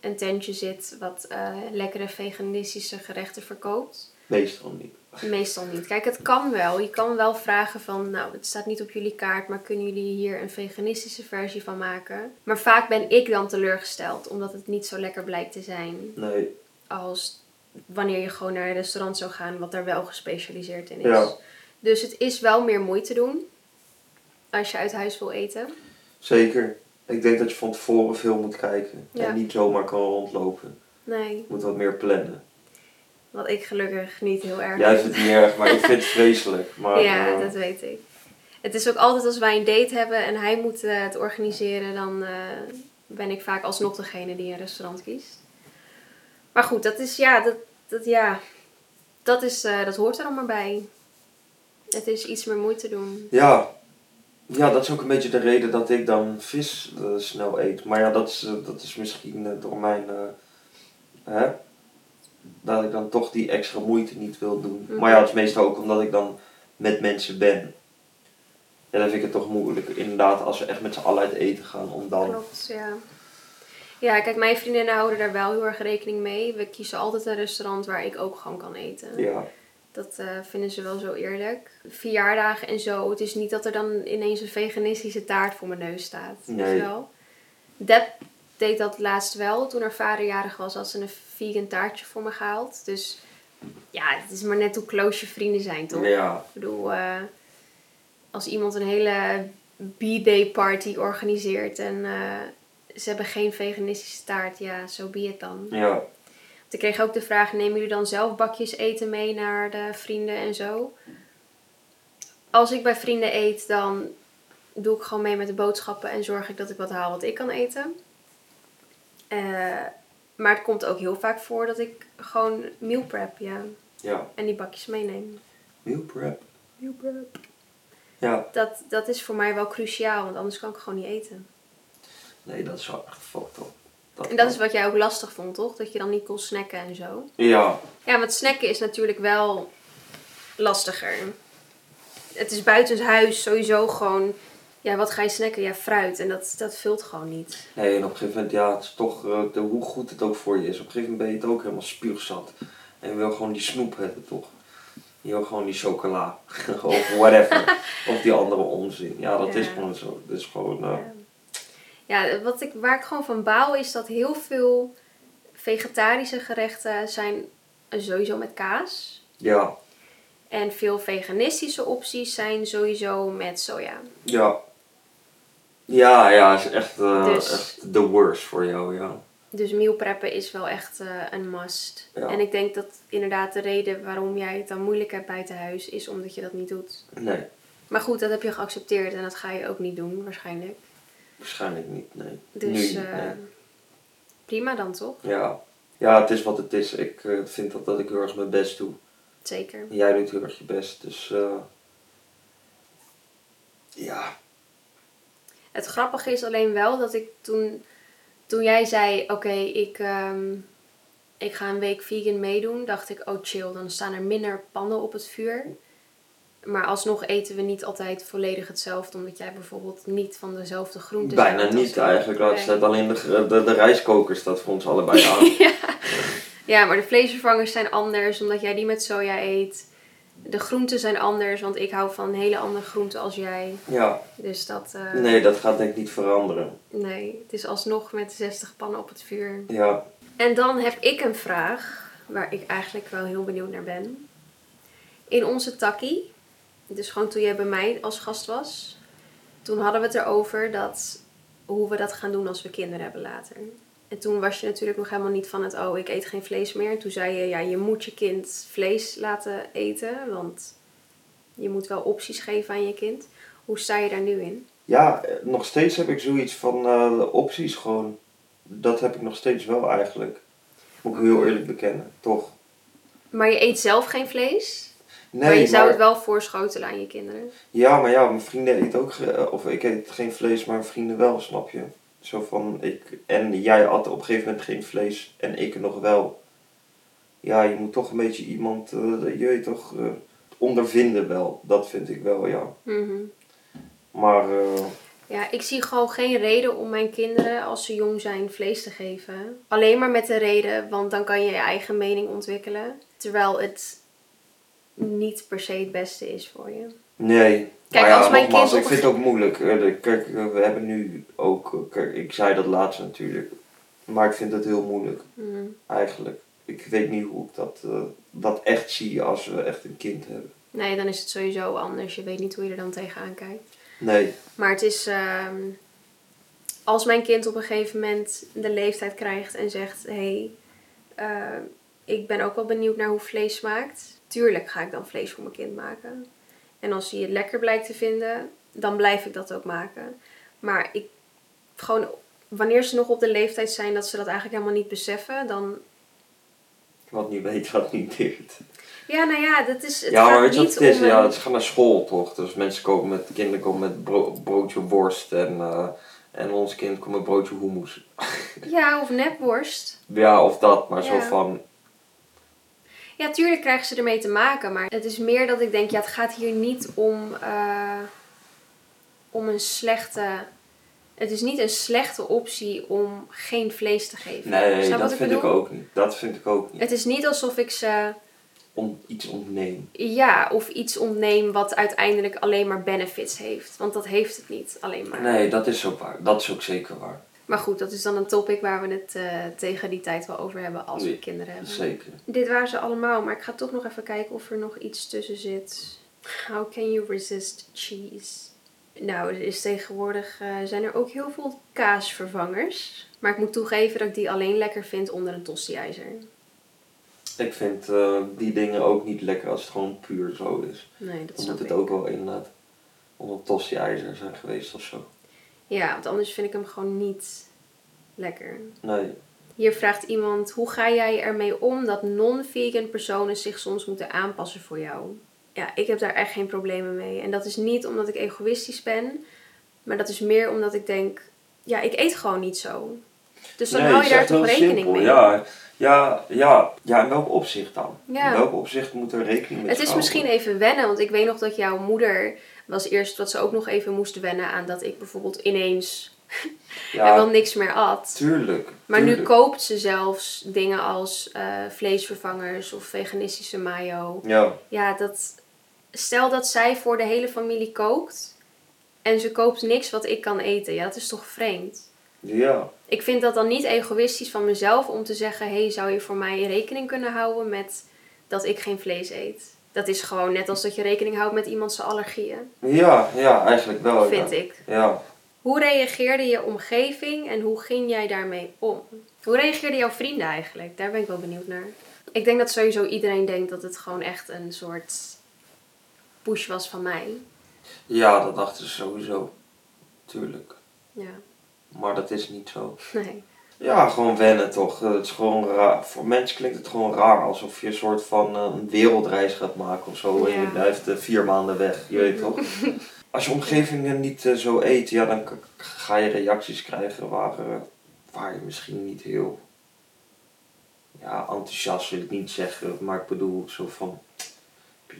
Speaker 1: een tentje zit wat eh, lekkere veganistische gerechten verkoopt.
Speaker 2: meestal niet.
Speaker 1: Meestal niet. Kijk, het kan wel. Je kan wel vragen van, nou, het staat niet op jullie kaart, maar kunnen jullie hier een veganistische versie van maken? Maar vaak ben ik dan teleurgesteld, omdat het niet zo lekker blijkt te zijn
Speaker 2: Nee,
Speaker 1: als wanneer je gewoon naar een restaurant zou gaan wat daar wel gespecialiseerd in is.
Speaker 2: Ja.
Speaker 1: Dus het is wel meer moeite doen als je uit huis wil eten.
Speaker 2: zeker. Ik denk dat je van tevoren veel moet kijken.
Speaker 1: Ja.
Speaker 2: En niet zomaar kan rondlopen.
Speaker 1: Nee,
Speaker 2: Je moet wat meer plannen.
Speaker 1: wat ik gelukkig niet heel erg
Speaker 2: Jij
Speaker 1: vind.
Speaker 2: vindt het niet erg, maar ik vind het vreselijk. Maar,
Speaker 1: ja,
Speaker 2: eh,
Speaker 1: dat weet ik. Het is ook altijd als wij een date hebben en hij moet eh, het organiseren, dan eh, ben ik vaak alsnog degene die een restaurant kiest. Maar goed, dat is ja, dat, dat, ja, dat, is, eh, dat hoort er allemaal bij. Het is iets meer moeite doen.
Speaker 2: Ja. ja, dat is ook een beetje de reden dat ik dan vis eh, snel eet. Maar ja, dat is, eh, dat is misschien eh, door mijn... eh, hè? Dat ik dan toch die extra moeite niet wil doen.
Speaker 1: Mhm.
Speaker 2: Maar ja, dat is meestal ook omdat ik dan met mensen ben. En dan vind ik het toch moeilijk, inderdaad, als we echt met z'n allen uit eten gaan, om dan...
Speaker 1: Klopt, ja. Ja, kijk, mijn vriendinnen houden daar wel heel erg rekening mee. We kiezen altijd een restaurant waar ik ook gewoon kan eten.
Speaker 2: Ja,
Speaker 1: Dat eh, vinden ze wel zo eerlijk. Verjaardagen en zo. Het is niet dat er dan ineens een veganistische taart voor mijn neus staat.
Speaker 2: Nee.
Speaker 1: Weet je wel? Deb deed dat laatst wel. Toen haar vader jarig was, had ze een vegan taartje voor me gehaald. Dus ja, het is maar net hoe close je vrienden zijn, toch?
Speaker 2: ja,
Speaker 1: Ik bedoel, eh, als iemand een hele b-day party organiseert en eh, ze hebben geen veganistische taart, ja, zo be het dan.
Speaker 2: ja.
Speaker 1: Want Ik kreeg ook de vraag: nemen jullie dan zelf bakjes eten mee naar de vrienden en zo? Als ik bij vrienden eet, dan doe ik gewoon mee met de boodschappen en zorg ik dat ik wat haal wat ik kan eten. Eh, maar het komt ook heel vaak voor dat ik gewoon meal prep, ja.
Speaker 2: ja.
Speaker 1: En die bakjes meeneem.
Speaker 2: Meal prep.
Speaker 1: Meal prep.
Speaker 2: Ja,
Speaker 1: Dat, dat is voor mij wel cruciaal, want anders kan ik gewoon niet eten.
Speaker 2: nee, dat is wel echt fucked up.
Speaker 1: En dat is wat jij ook lastig vond, toch? Dat je dan niet kon snacken en zo.
Speaker 2: Ja,
Speaker 1: Ja, want snacken is natuurlijk wel lastiger. Het is buitenshuis sowieso gewoon... Ja, wat ga je snacken? Ja, fruit. En dat, dat vult gewoon niet.
Speaker 2: Nee, en op een gegeven moment, ja, het is toch eh, de, hoe goed het ook voor je is. Op een gegeven moment ben je het ook helemaal spuugzat. En je wil gewoon die snoep hebben, toch? Je wil gewoon die chocola. of whatever. of die andere onzin. Ja, dat is
Speaker 1: Ja.
Speaker 2: gewoon zo. Dat is gewoon, eh,
Speaker 1: Ja, ja wat ik, waar ik gewoon van baal is dat heel veel vegetarische gerechten zijn sowieso met kaas.
Speaker 2: ja,
Speaker 1: En veel veganistische opties zijn sowieso met soja.
Speaker 2: ja. Ja, ja, is echt, eh,
Speaker 1: Dus-
Speaker 2: echt the worst voor jou, ja.
Speaker 1: Dus meal preppen is wel echt eh, een must.
Speaker 2: Ja.
Speaker 1: En ik denk dat inderdaad de reden waarom jij het dan moeilijk hebt buiten huis is omdat je dat niet doet.
Speaker 2: Nee,
Speaker 1: Maar goed, dat heb je geaccepteerd en dat ga je ook niet doen waarschijnlijk.
Speaker 2: waarschijnlijk niet, nee.
Speaker 1: Dus
Speaker 2: nu, niet,
Speaker 1: eh,
Speaker 2: nee.
Speaker 1: prima dan toch?
Speaker 2: Ja. ja, het is wat het is. Ik eh, vind dat, dat ik heel erg mijn best doe.
Speaker 1: Zeker.
Speaker 2: Jij doet heel erg je best, dus eh, ja,
Speaker 1: Het grappige is alleen wel dat ik toen, toen jij zei, oké, ik, ehm, ik ga een week vegan meedoen, dacht ik, oh chill, dan staan er minder pannen op het vuur. Maar alsnog eten we niet altijd volledig hetzelfde, omdat jij bijvoorbeeld niet van dezelfde groenten
Speaker 2: bijna
Speaker 1: bent als
Speaker 2: niet
Speaker 1: ik.
Speaker 2: eigenlijk. Laat
Speaker 1: Nee.
Speaker 2: staat alleen de, gr- de, de rijstkoker staat voor ons allebei aan.
Speaker 1: Ja, maar de vleesvervangers zijn anders, omdat jij die met soja eet. De groenten zijn anders, want ik hou van hele andere groenten als jij.
Speaker 2: ja,
Speaker 1: Dus dat... eh,
Speaker 2: nee, dat gaat denk ik niet veranderen.
Speaker 1: nee, het is alsnog met 60 pannen op het vuur.
Speaker 2: Ja,
Speaker 1: En dan heb ik een vraag waar ik eigenlijk wel heel benieuwd naar ben. In onze takkie, dus gewoon toen jij bij mij als gast was, toen hadden we het erover dat hoe we dat gaan doen als we kinderen hebben later. En toen was je natuurlijk nog helemaal niet van het, oh ik eet geen vlees meer. En toen zei je, ja je moet je kind vlees laten eten, want je moet wel opties geven aan je kind. Hoe sta je daar nu in?
Speaker 2: Ja, eh, nog steeds heb ik zoiets van eh, de opties gewoon. Dat heb ik nog steeds wel eigenlijk. Moet ik heel eerlijk bekennen, toch?
Speaker 1: Maar je eet zelf geen vlees,
Speaker 2: Nee,
Speaker 1: maar je zou
Speaker 2: maar-
Speaker 1: het wel voorschotelen aan je kinderen.
Speaker 2: Ja, maar ja, mijn vrienden eten ook, ge- of ik eet geen vlees, maar mijn vrienden wel, snap je? Zo van, ik, en jij at op een gegeven moment geen vlees en ik nog wel. Ja, je moet toch een beetje iemand, eh, je weet toch, eh, ondervinden wel. Dat vind ik wel, ja.
Speaker 1: Mhm.
Speaker 2: Maar, eh,
Speaker 1: Ja, ik zie gewoon geen reden om mijn kinderen als ze jong zijn vlees te geven. Alleen maar met de reden, want dan kan je je eigen mening ontwikkelen. Terwijl het niet per se het beste is voor je.
Speaker 2: nee.
Speaker 1: Kijk,
Speaker 2: maar ja,
Speaker 1: als mijn
Speaker 2: nogmaals,
Speaker 1: kind
Speaker 2: ik
Speaker 1: op
Speaker 2: vind
Speaker 1: een
Speaker 2: het ook moeilijk. Eh, de- Kijk, eh, we hebben nu ook, eh, kijk, ik zei dat laatst natuurlijk. Maar ik vind het heel moeilijk.
Speaker 1: Mhm.
Speaker 2: eigenlijk. Ik weet niet hoe ik dat, eh, dat echt zie als we echt een kind hebben.
Speaker 1: Nee, dan is het sowieso anders. Je weet niet hoe je er dan tegenaan kijkt.
Speaker 2: Nee,
Speaker 1: Maar het is. ehm, als mijn kind op een gegeven moment de leeftijd krijgt en zegt: hé, hey, eh, ik ben ook wel benieuwd naar hoe vlees smaakt. Tuurlijk ga ik dan vlees voor mijn kind maken. En als hij het lekker blijkt te vinden, dan blijf ik dat ook maken. Maar ik. Gewoon. Wanneer ze nog op de leeftijd zijn dat ze dat eigenlijk helemaal niet beseffen, dan.
Speaker 2: wat niet weet, wat niet deert.
Speaker 1: Ja, nou ja, dat is. Het
Speaker 2: ja,
Speaker 1: gaat
Speaker 2: maar weet je wat
Speaker 1: niet
Speaker 2: het is?
Speaker 1: om een-
Speaker 2: Ja, het gaat naar school toch? Dus mensen komen met, kinderen komen met bro- broodje worst en, eh, en ons kind komt met broodje hummus.
Speaker 1: ja, of nepworst.
Speaker 2: Ja, of dat, maar zo
Speaker 1: Ja.
Speaker 2: van,
Speaker 1: Ja, tuurlijk krijgen ze ermee te maken. Maar het is meer dat ik denk, ja, het gaat hier niet om, eh, om een slechte. Het is niet een slechte optie om geen vlees te geven.
Speaker 2: nee,
Speaker 1: Snap
Speaker 2: dat
Speaker 1: wat
Speaker 2: vind ik
Speaker 1: bedoel?
Speaker 2: ook niet. Dat vind ik ook niet.
Speaker 1: Het is niet alsof ik ze,
Speaker 2: Om iets ontnemen.
Speaker 1: ja, of iets ontneem wat uiteindelijk alleen maar benefits heeft. Want dat heeft het niet alleen maar.
Speaker 2: Nee, dat is ook waar. Dat is ook zeker waar.
Speaker 1: Maar goed, dat is dan een topic waar we het eh, tegen die tijd wel over hebben als we
Speaker 2: Nee,
Speaker 1: kinderen hebben.
Speaker 2: Zeker.
Speaker 1: Dit waren ze allemaal, maar ik ga toch nog even kijken of er nog iets tussen zit. How can you resist cheese? Nou, er is tegenwoordig eh, zijn er ook heel veel kaasvervangers. Maar ik moet toegeven dat ik die alleen lekker vind onder een tosti-ijzer.
Speaker 2: Ik vind eh, die dingen ook niet lekker als het gewoon puur zo is.
Speaker 1: Nee, dat
Speaker 2: Dan
Speaker 1: snap
Speaker 2: moet het
Speaker 1: ik.
Speaker 2: ook wel inderdaad onder tosti-ijzer zijn geweest of zo.
Speaker 1: Ja, want anders vind ik hem gewoon niet lekker.
Speaker 2: Nee,
Speaker 1: Hier vraagt iemand, hoe ga jij ermee om dat non-vegan personen zich soms moeten aanpassen voor jou? Ja, ik heb daar echt geen problemen mee. En dat is niet omdat ik egoïstisch ben, maar dat is meer omdat ik denk, ja, ik eet gewoon niet zo. Dus dan
Speaker 2: nee,
Speaker 1: hou
Speaker 2: het
Speaker 1: je
Speaker 2: is
Speaker 1: daar
Speaker 2: echt
Speaker 1: toch
Speaker 2: heel
Speaker 1: rekening
Speaker 2: simpel,
Speaker 1: mee.
Speaker 2: Ja, ja, ja. ja, in welk opzicht dan?
Speaker 1: Ja.
Speaker 2: In welk opzicht moet er rekening mee
Speaker 1: Het is misschien even wennen, want ik weet nog dat jouw moeder was eerst dat ze ook nog even moest wennen aan dat ik bijvoorbeeld ineens helemaal
Speaker 2: Ja,
Speaker 1: niks meer at.
Speaker 2: tuurlijk.
Speaker 1: Maar nu
Speaker 2: tuurlijk.
Speaker 1: koopt ze zelfs dingen als eh, vleesvervangers of veganistische mayo.
Speaker 2: Ja,
Speaker 1: Ja, dat. Stel dat zij voor de hele familie kookt en ze koopt niks wat ik kan eten. Ja, dat is toch vreemd?
Speaker 2: ja.
Speaker 1: Ik vind dat dan niet egoïstisch van mezelf om te zeggen: hé, hey, zou je voor mij rekening kunnen houden met dat ik geen vlees eet? Dat is gewoon net als dat je rekening houdt met iemand zijn allergieën,
Speaker 2: Ja, ja, eigenlijk wel.
Speaker 1: vind
Speaker 2: Oh, ja.
Speaker 1: ik.
Speaker 2: Ja.
Speaker 1: Hoe reageerde je omgeving en hoe ging jij daarmee om? Hoe reageerden jouw vrienden eigenlijk? Daar ben ik wel benieuwd naar. Ik denk dat sowieso iedereen denkt dat het gewoon echt een soort push was van mij.
Speaker 2: ja, dat dachten ze sowieso. Tuurlijk.
Speaker 1: Ja,
Speaker 2: Maar dat is niet zo.
Speaker 1: nee.
Speaker 2: Ja, gewoon wennen toch. Eh, Het is gewoon raar. Voor mensen klinkt het gewoon raar. Alsof je een soort van eh, een wereldreis gaat maken of zo. En je
Speaker 1: Ja.
Speaker 2: blijft eh, vier maanden weg. Je weet toch? Als je omgevingen niet eh, zo eet, ja, dan k- ga je reacties krijgen waar, eh, waar je misschien niet heel ja, enthousiast wil ik niet zeggen. Maar ik bedoel, zo van.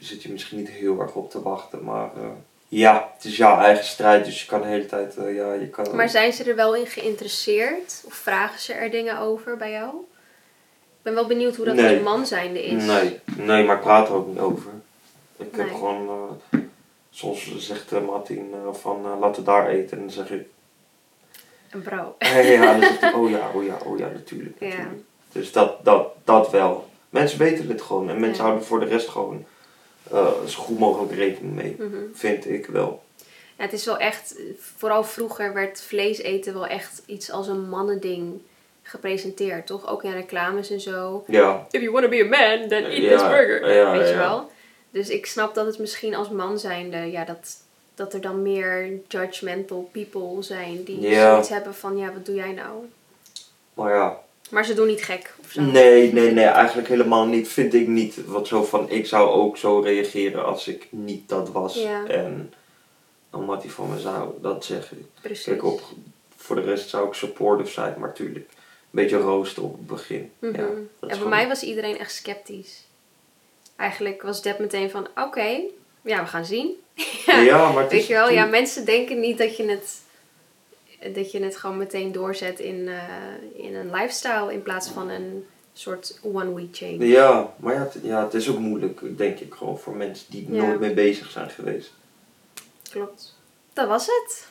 Speaker 2: Zit je misschien niet heel erg op te wachten. Maar eh, ja, het is jouw eigen strijd. Dus je kan de hele tijd. eh, ja, je kan,
Speaker 1: Maar zijn ze er wel in geïnteresseerd? Of vragen ze er dingen over bij jou? Ik ben wel benieuwd hoe dat
Speaker 2: Nee.
Speaker 1: als man zijnde is.
Speaker 2: Nee, nee, maar ik praat er ook niet over. Ik heb
Speaker 1: Nee.
Speaker 2: gewoon. eh, soms zegt eh, Martin eh, van eh, laten we daar eten. En dan zeg ik.
Speaker 1: Een bro.
Speaker 2: Hey, ja, dan zegt hij, oh ja, oh ja, oh ja, natuurlijk.
Speaker 1: Ja.
Speaker 2: natuurlijk. Dus dat, dat, dat wel. Mensen weten het gewoon. En mensen
Speaker 1: Ja.
Speaker 2: houden voor de rest gewoon eh, zo goed mogelijk rekening mee.
Speaker 1: Mhm.
Speaker 2: Vind ik wel.
Speaker 1: Ja, het is wel echt, vooral vroeger werd vlees eten wel echt iets als een mannending gepresenteerd, toch? Ook in reclames en zo.
Speaker 2: Ja.
Speaker 1: If you want to be a man, then eat
Speaker 2: Ja,
Speaker 1: this burger.
Speaker 2: ja,
Speaker 1: Weet je
Speaker 2: ja.
Speaker 1: wel? Dus ik snap dat het misschien als man zijnde, ja, dat, dat er dan meer judgmental people zijn die
Speaker 2: Ja.
Speaker 1: zoiets hebben van, ja, wat doe jij nou?
Speaker 2: Maar ja,
Speaker 1: Maar ze doen niet gek of zo.
Speaker 2: nee, nee, nee, eigenlijk helemaal niet. Vind ik niet. Wat zo van, ik zou ook zo reageren als ik niet dat was.
Speaker 1: Ja.
Speaker 2: En omdat hij van me zou, dat zeg ik.
Speaker 1: Precies.
Speaker 2: Kijk, op, voor de rest zou ik supportive zijn, maar tuurlijk. Een beetje roosten op het begin.
Speaker 1: Mhm.
Speaker 2: Ja, dat
Speaker 1: en
Speaker 2: is
Speaker 1: voor
Speaker 2: gewoon-
Speaker 1: mij was iedereen echt sceptisch. Eigenlijk was Deb meteen van, oké, ja, we gaan zien.
Speaker 2: Ja, maar het
Speaker 1: Weet
Speaker 2: is
Speaker 1: je wel, ja,
Speaker 2: natuurlijk-
Speaker 1: mensen denken niet dat je het, dat je het gewoon meteen doorzet in, eh, in een lifestyle in plaats van een soort one-week change.
Speaker 2: Ja, maar ja het, ja, het is ook moeilijk, denk ik, gewoon voor mensen die
Speaker 1: Ja.
Speaker 2: nooit mee bezig zijn geweest.
Speaker 1: Klopt. Dat was het.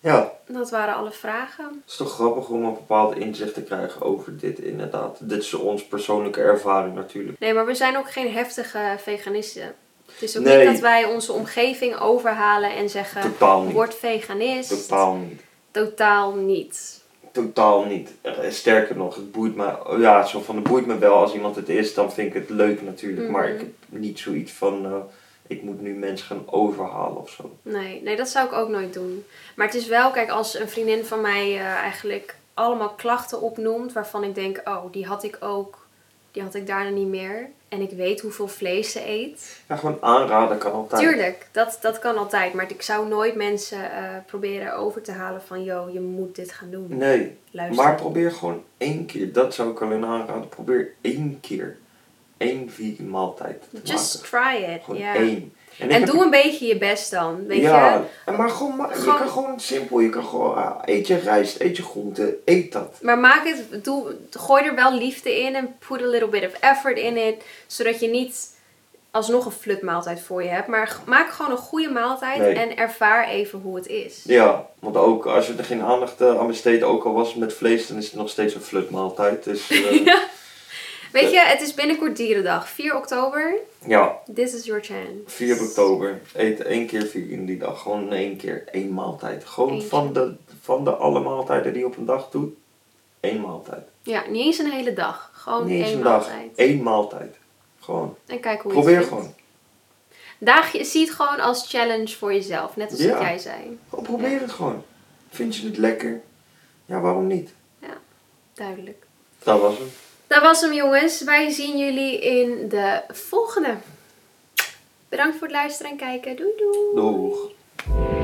Speaker 2: Ja,
Speaker 1: Dat waren alle vragen.
Speaker 2: Het is toch grappig om een bepaald inzicht te krijgen over dit, inderdaad. Dit is ons persoonlijke ervaring natuurlijk.
Speaker 1: Nee, maar we zijn ook geen heftige veganisten. Het is ook
Speaker 2: Nee.
Speaker 1: niet dat wij onze omgeving overhalen en zeggen:
Speaker 2: Totaal niet.
Speaker 1: word veganist.
Speaker 2: Totaal niet.
Speaker 1: Totaal niet.
Speaker 2: Totaal niet. Eh, Sterker nog, het boeit me. oh Ja, zo van het boeit me wel als iemand het is, dan vind ik het leuk natuurlijk. Maar
Speaker 1: Mhm.
Speaker 2: ik heb niet zoiets van. eh, ik moet nu mensen gaan overhalen of zo.
Speaker 1: Nee, nee, dat zou ik ook nooit doen. Maar het is wel, kijk, als een vriendin van mij eh, eigenlijk allemaal klachten opnoemt waarvan ik denk: oh, die had ik ook, die had ik daarna niet meer. En ik weet hoeveel vlees ze eet.
Speaker 2: Ja, gewoon aanraden kan altijd.
Speaker 1: Tuurlijk, dat, dat kan altijd. Maar ik zou nooit mensen eh, proberen over te halen van... ...joh, je moet dit gaan doen.
Speaker 2: Nee,
Speaker 1: Luister.
Speaker 2: maar probeer gewoon één keer. Dat zou ik alleen aanraden. Probeer één keer. één vegan maaltijd te
Speaker 1: Just
Speaker 2: maken.
Speaker 1: try it.
Speaker 2: Gewoon
Speaker 1: ja.
Speaker 2: één. En, ik
Speaker 1: En
Speaker 2: heb
Speaker 1: doe een beetje je best dan, weet
Speaker 2: ja,
Speaker 1: je.
Speaker 2: en maar gewoon, ma- je
Speaker 1: Gewoon-
Speaker 2: kan gewoon simpel, je kan gewoon, ah, eet je rijst, eet je groente, eet dat.
Speaker 1: Maar maak het, doe, gooi er wel liefde in en put a little bit of effort in it. Zodat je niet alsnog een flutmaaltijd voor je hebt. Maar g- maak gewoon een goede maaltijd
Speaker 2: Nee.
Speaker 1: en ervaar even hoe het is.
Speaker 2: Ja, want ook als je er geen aandacht eh, aan besteedt, ook al was het met vlees, dan is het nog steeds een flutmaaltijd. Dus eh,
Speaker 1: Weet je, het is binnenkort dierendag. 4 oktober,
Speaker 2: ja,
Speaker 1: this is your chance.
Speaker 2: 4 oktober, eet één keer vegan die dag, gewoon in één keer, één maaltijd. Gewoon
Speaker 1: Eentje.
Speaker 2: van de, van de alle maaltijden die je op een dag doet, één maaltijd.
Speaker 1: Ja, niet eens een hele dag. Gewoon
Speaker 2: Niet eens
Speaker 1: één
Speaker 2: een dag,
Speaker 1: maaltijd.
Speaker 2: één maaltijd. Gewoon,
Speaker 1: En kijk hoe je het
Speaker 2: probeer
Speaker 1: vindt.
Speaker 2: gewoon.
Speaker 1: Daag je, zie het gewoon als challenge voor jezelf, net als
Speaker 2: Ja.
Speaker 1: dat jij zei.
Speaker 2: Gewoon probeer het gewoon. Vind je het lekker? Ja, waarom niet?
Speaker 1: Ja, duidelijk.
Speaker 2: Dat was hem.
Speaker 1: Dat was hem jongens. Wij zien jullie in de volgende. Bedankt voor het luisteren en kijken. Doei doei.
Speaker 2: Doeg.